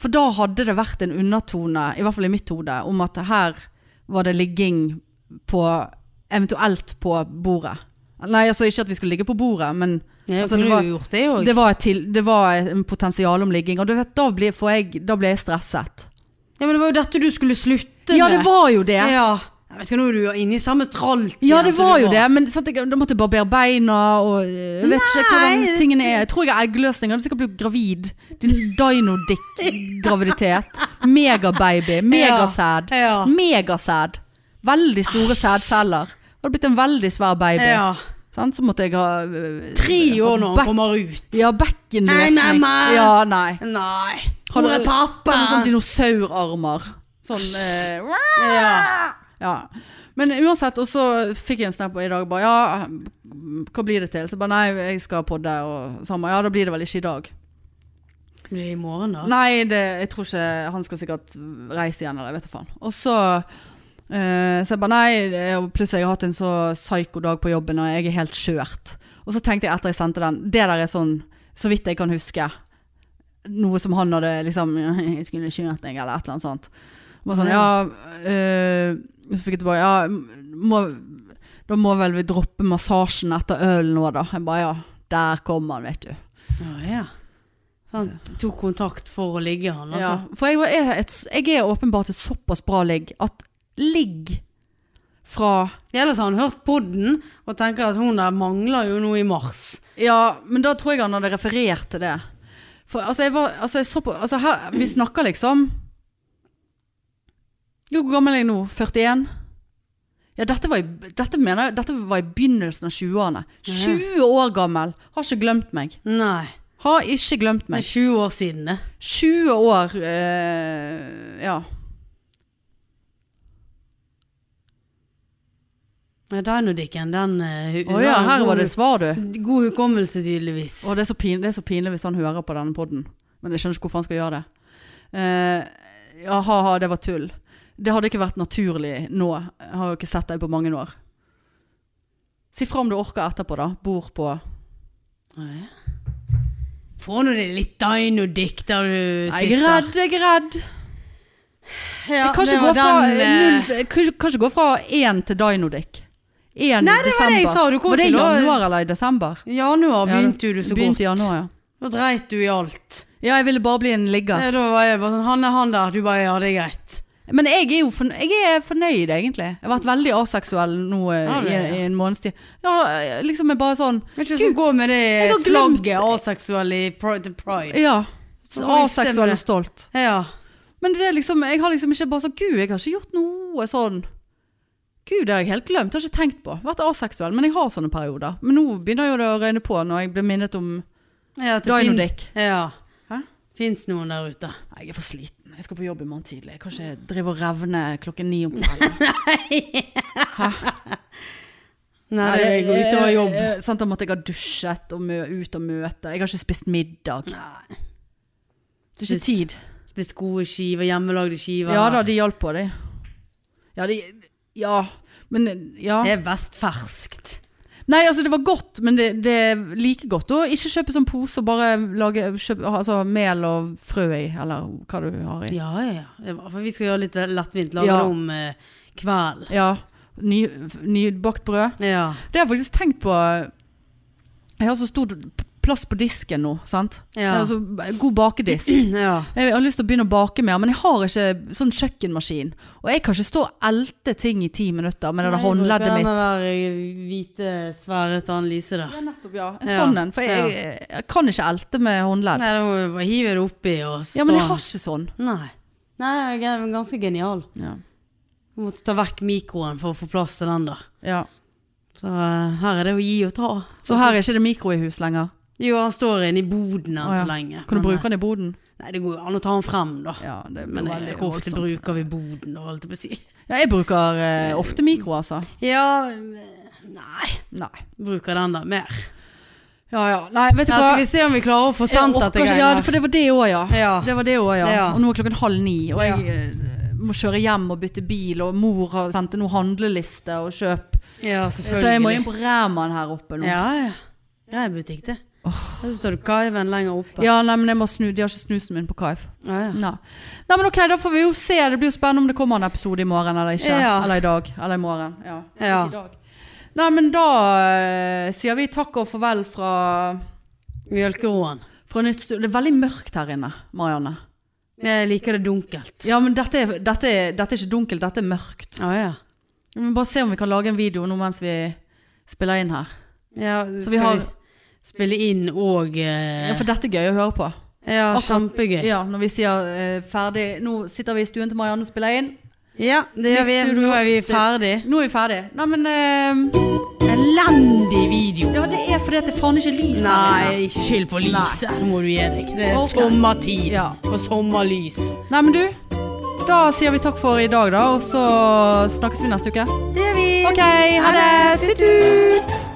Speaker 2: For da hadde det vært en undertone, i hvert fall i mitt hode, om at her var det ligging på Eventuelt på bordet. Nei, altså ikke at vi skulle ligge på bordet, men
Speaker 1: Ja,
Speaker 2: Altså, det
Speaker 1: kunne
Speaker 2: var-
Speaker 1: jo gjort det jo.
Speaker 2: det var, et til, det var en potensial om ligging. Og du vet, da ble, får jeg, da ble jeg stresset.
Speaker 1: Ja, men det var jo dette du skulle slutte med.
Speaker 2: Ja, det var jo det!
Speaker 1: Ja. Jeg vet ikke, nå er du jo inne i samme tralt.
Speaker 2: Ja,
Speaker 1: igjen
Speaker 2: det
Speaker 1: som
Speaker 2: var
Speaker 1: Altså, du
Speaker 2: jo det, men sant, jeg, da måtte jeg barbere beina og eh, Jeg vet ikke
Speaker 1: Nei.
Speaker 2: hvordan tingene er. Jeg tror jeg har eggløsning. Jeg hadde sikkert blitt gravid. Din Dinodick-graviditet. Megababy. Megasæd.
Speaker 1: Ja.
Speaker 2: Megasæd. Veldig store sædceller. Hadde blitt en veldig svær baby.
Speaker 1: Ja.
Speaker 2: Sant? Så måtte jeg ha eh,
Speaker 1: Tre år når
Speaker 2: back-
Speaker 1: han kommer ut.
Speaker 2: Ja, bekkenløsning.
Speaker 1: Nei, nei, nei.
Speaker 2: Ja, nei.
Speaker 1: Nei.
Speaker 2: Har
Speaker 1: Hvor
Speaker 2: du-
Speaker 1: er pappa?
Speaker 2: Sånn, sånn dinosaurarmer. Sånn eh,
Speaker 1: Ja.
Speaker 2: Ja. Men uansett, og så fikk jeg en snap i dag bare Ja, hva blir det til? Så jeg bare nei, jeg skal podde og sammen. Ja, da blir det vel ikke i dag.
Speaker 1: Blir det i morgen, da?
Speaker 2: Nei, det, jeg tror ikke Han skal sikkert reise igjen, eller jeg vet da faen. Og så eh, Så jeg bare nei, det- og plutselig har jeg hatt en så psyko dag på jobben, og jeg er helt skjørt. Og så tenkte jeg etter jeg sendte den Det der er sånn, så vidt jeg kan huske, noe som han hadde liksom Jeg skulle kjørt deg, eller et eller annet sånt. Og bare sånn, ja eh, Så fikk jeg tilbake Ja, må, da må vel vi droppe massasjen etter ølen nå, da. Jeg bare ja, der kommer han, vet du.
Speaker 1: Ja, ja. Sant. Tok kontakt for å ligge, han,
Speaker 2: Ja,
Speaker 1: altså.
Speaker 2: for jeg, var- jeg, er et, jeg er åpenbart et såpass bra ligg at ligg fra
Speaker 1: Ellers har han hørt podden og tenker at hun der mangler jo noe i mars.
Speaker 2: Ja, men da tror jeg han hadde referert til det. For altså, jeg var altså, jeg så på, altså her, Vi snakker liksom Jo, hvor gammel er jeg nå? 41? Ja, dette var i, dette mener, jeg- dette var i begynnelsen av 20-årene. 20 år gammel! Har ikke glemt meg.
Speaker 1: Nei.
Speaker 2: Har ikke glemt
Speaker 1: Det
Speaker 2: meg.
Speaker 1: er 20 år siden, det.
Speaker 2: 20 år eh, Ja.
Speaker 1: Ja, Dynodicken, den eh,
Speaker 2: Å ja, her var det svar, du.
Speaker 1: god, god hukommelse, tydeligvis.
Speaker 2: Og det er, så pin, det er så pinlig hvis han hører på denne podden. Men jeg skjønner ikke hvorfor han skal gjøre det. Eh, ja, ha-ha, det var tull. Det hadde ikke vært naturlig nå. Jeg har jo ikke sett deg på mange år. Si fra om du orker etterpå, da. Bor på
Speaker 1: Få nå det litt Dynodick der du sitter.
Speaker 2: Nei, Jeg er redd, jeg er redd.
Speaker 1: Ja,
Speaker 2: jeg kan
Speaker 1: det
Speaker 2: ikke
Speaker 1: var
Speaker 2: gå fra,
Speaker 1: den, eh,
Speaker 2: null, jeg kan ikke- kan ikke gå fra én til Dynodic. Én
Speaker 1: Nei,
Speaker 2: i
Speaker 1: det var det
Speaker 2: desember.
Speaker 1: jeg sa, du kom
Speaker 2: var det i
Speaker 1: til å-
Speaker 2: januar eller i desember?
Speaker 1: Januar begynte
Speaker 2: Ja,
Speaker 1: jo du så
Speaker 2: begynte
Speaker 1: godt.
Speaker 2: i januar, ja.
Speaker 1: Da dreit du i alt.
Speaker 2: ja, jeg ville bare bli en ligger.
Speaker 1: Nei, Da var jeg bare sånn Han er han der. Du bare ja, det er greit.
Speaker 2: Men jeg er jo forn jeg er fornøyd, egentlig. Jeg har vært veldig aseksuell nå eh,
Speaker 1: Har du
Speaker 2: i,
Speaker 1: det?
Speaker 2: i en måneds tid. Ja, eh, liksom jeg bare sånn
Speaker 1: Vet ikke hva som går med
Speaker 2: jeg har
Speaker 1: det
Speaker 2: glemt-
Speaker 1: flagget aseksuell i Pride til Pride.
Speaker 2: Ja.
Speaker 1: Så gifte
Speaker 2: Aseksuell
Speaker 1: med-
Speaker 2: og stolt.
Speaker 1: Ja.
Speaker 2: Men det er liksom, jeg har liksom ikke bare sånn Gud, jeg har ikke gjort noe sånn Gud, det har jeg helt glemt. Jeg har ikke tenkt på. Vært aseksuell. Men jeg har sånne perioder. Men nå begynner jo det å røyne på når jeg blir minnet om Nei,
Speaker 1: ja at det
Speaker 2: Dynodick.
Speaker 1: finnes- Ja.
Speaker 2: Hæ?
Speaker 1: Fins noen der ute.
Speaker 2: jeg er for sliten. Jeg skal på jobb i morgen tidlig. Jeg kan ikke drive og revne klokken ni om kvelden.
Speaker 1: Nei, det er går utover jobb.
Speaker 2: Eh, eh, Sant, da måtte jeg ha dusjet og mø ut og møte. Jeg har ikke spist middag.
Speaker 1: Nei.
Speaker 2: Det er ikke tid.
Speaker 1: Spist gode skiver, hjemmelagde skiver.
Speaker 2: Ja da, de hjalp på, de. Ja, de Ja. Men ja.
Speaker 1: Det er best ferskt.
Speaker 2: Nei, altså, det var godt, men det, det er like godt å ikke kjøpe sånn pose og bare lage kjøpe, altså, mel og frø i, eller hva du har i.
Speaker 1: Ja, ja, ja. Det var- For vi skal gjøre litt lettvint. Lage
Speaker 2: Ja.
Speaker 1: det om eh, kvelden.
Speaker 2: Ja. Ny, nybakt brød.
Speaker 1: Ja.
Speaker 2: Det har jeg faktisk tenkt på Jeg har så stor plass på disken nå, sant? Jeg
Speaker 1: Ja.
Speaker 2: har så god bakedisk.
Speaker 1: ja.
Speaker 2: Jeg har lyst til å begynne å bake mer, men jeg har ikke sånn kjøkkenmaskin. Og jeg kan ikke stå og elte ting i ti minutter med det der håndleddet mitt.
Speaker 1: Den der eh, hvite, svære til Anne Lise der.
Speaker 2: Ja, nettopp, ja. En
Speaker 1: Ja.
Speaker 2: sånn en. For jeg, jeg kan ikke elte med håndledd.
Speaker 1: Nei, da må vi bare hive det oppi og stå.
Speaker 2: Ja, men jeg har ikke sånn.
Speaker 1: Nei. Nei, jeg er ganske genial.
Speaker 2: Ja.
Speaker 1: Vi måtte ta vekk mikroen for å få plass til den der.
Speaker 2: Ja.
Speaker 1: Så eh, her er det å gi og ta.
Speaker 2: Så her er ikke det mikro i hus lenger.
Speaker 1: Jo, han står inne i boden enn
Speaker 2: Å, ja.
Speaker 1: så lenge.
Speaker 2: Kan du
Speaker 1: Men,
Speaker 2: bruke den i boden?
Speaker 1: eh, Nei, det går jo an å ta den frem da.
Speaker 2: Ja, det blir
Speaker 1: Men eh,
Speaker 2: veldig
Speaker 1: hvor ofte
Speaker 2: voldsomt.
Speaker 1: bruker vi boden da, holdt jeg på å si.
Speaker 2: Ja, jeg bruker eh, ofte mikro, altså.
Speaker 1: Ja, eh, nei.
Speaker 2: Nei.
Speaker 1: Bruker den da mer.
Speaker 2: Ja, ja. Nei, vet du
Speaker 1: Nei,
Speaker 2: hva.
Speaker 1: skal vi se om vi klarer å få
Speaker 2: Jeg
Speaker 1: sendt
Speaker 2: orker
Speaker 1: dette
Speaker 2: ikke-
Speaker 1: greiene.
Speaker 2: Ja, for det var det òg, ja.
Speaker 1: Ja.
Speaker 2: Det var det også, ja.
Speaker 1: Ja.
Speaker 2: Og nå er klokken halv ni, og jeg eh, må kjøre hjem og bytte bil, og mor har sendt noen handleliste og kjøp.
Speaker 1: Ja,
Speaker 2: Så
Speaker 1: selvfølgelig.
Speaker 2: jeg må inn på Ræman her oppe nå. Ja,
Speaker 1: Ja, ja. Grei butikk, det. Så står du kaiven lenger oppe.
Speaker 2: nei, men jeg må snu. De har ikke snusen min på Kaif.
Speaker 1: Ja, ja.
Speaker 2: Nei. nei, men ok, da får vi jo se. Det blir jo spennende om det kommer en episode i morgen eller ikke.
Speaker 1: Ja.
Speaker 2: Eller i dag. Eller i morgen. Ja.
Speaker 1: Ja.
Speaker 2: Ikke i dag. Nei, men da eh, sier vi takk og farvel fra,
Speaker 1: Mjølkeroen.
Speaker 2: fra nytt studio. Det er veldig mørkt her inne, Marianne.
Speaker 1: Jeg liker det dunkelt.
Speaker 2: Ja, men dette er, dette er, dette er ikke dunkelt, dette er mørkt.
Speaker 1: Ja, ja.
Speaker 2: Vi må bare se om vi kan lage en video nå mens vi spiller inn her.
Speaker 1: Ja,
Speaker 2: Så
Speaker 1: skal
Speaker 2: vi
Speaker 1: vi,
Speaker 2: har
Speaker 1: spille inn og eh,
Speaker 2: Ja, for dette er gøy å høre på.
Speaker 1: Ja,
Speaker 2: akkurat-
Speaker 1: kjempegøy. Ja.
Speaker 2: Ja, når vi sier eh, ferdig Nå sitter vi i stuen til Marianne og spiller inn.
Speaker 1: det gjør vi.
Speaker 2: Nytt studio,
Speaker 1: Nå er vi
Speaker 2: stu-
Speaker 1: ferdig.
Speaker 2: Nå er vi ferdig. Nei, men eh,
Speaker 1: Elendig video.
Speaker 2: Ja, det er fordi at det faen ikke er lys her inne.
Speaker 1: Nei, ikke skyld på lyset. Nå må du gi deg. Det er
Speaker 2: Ok.
Speaker 1: sommertid
Speaker 2: Ja.
Speaker 1: og sommerlys.
Speaker 2: Nei, men du. Da sier vi takk for i dag, da. Og så snakkes vi neste uke.
Speaker 1: Det gjør vi.
Speaker 2: OK, ha det. Tut-tut.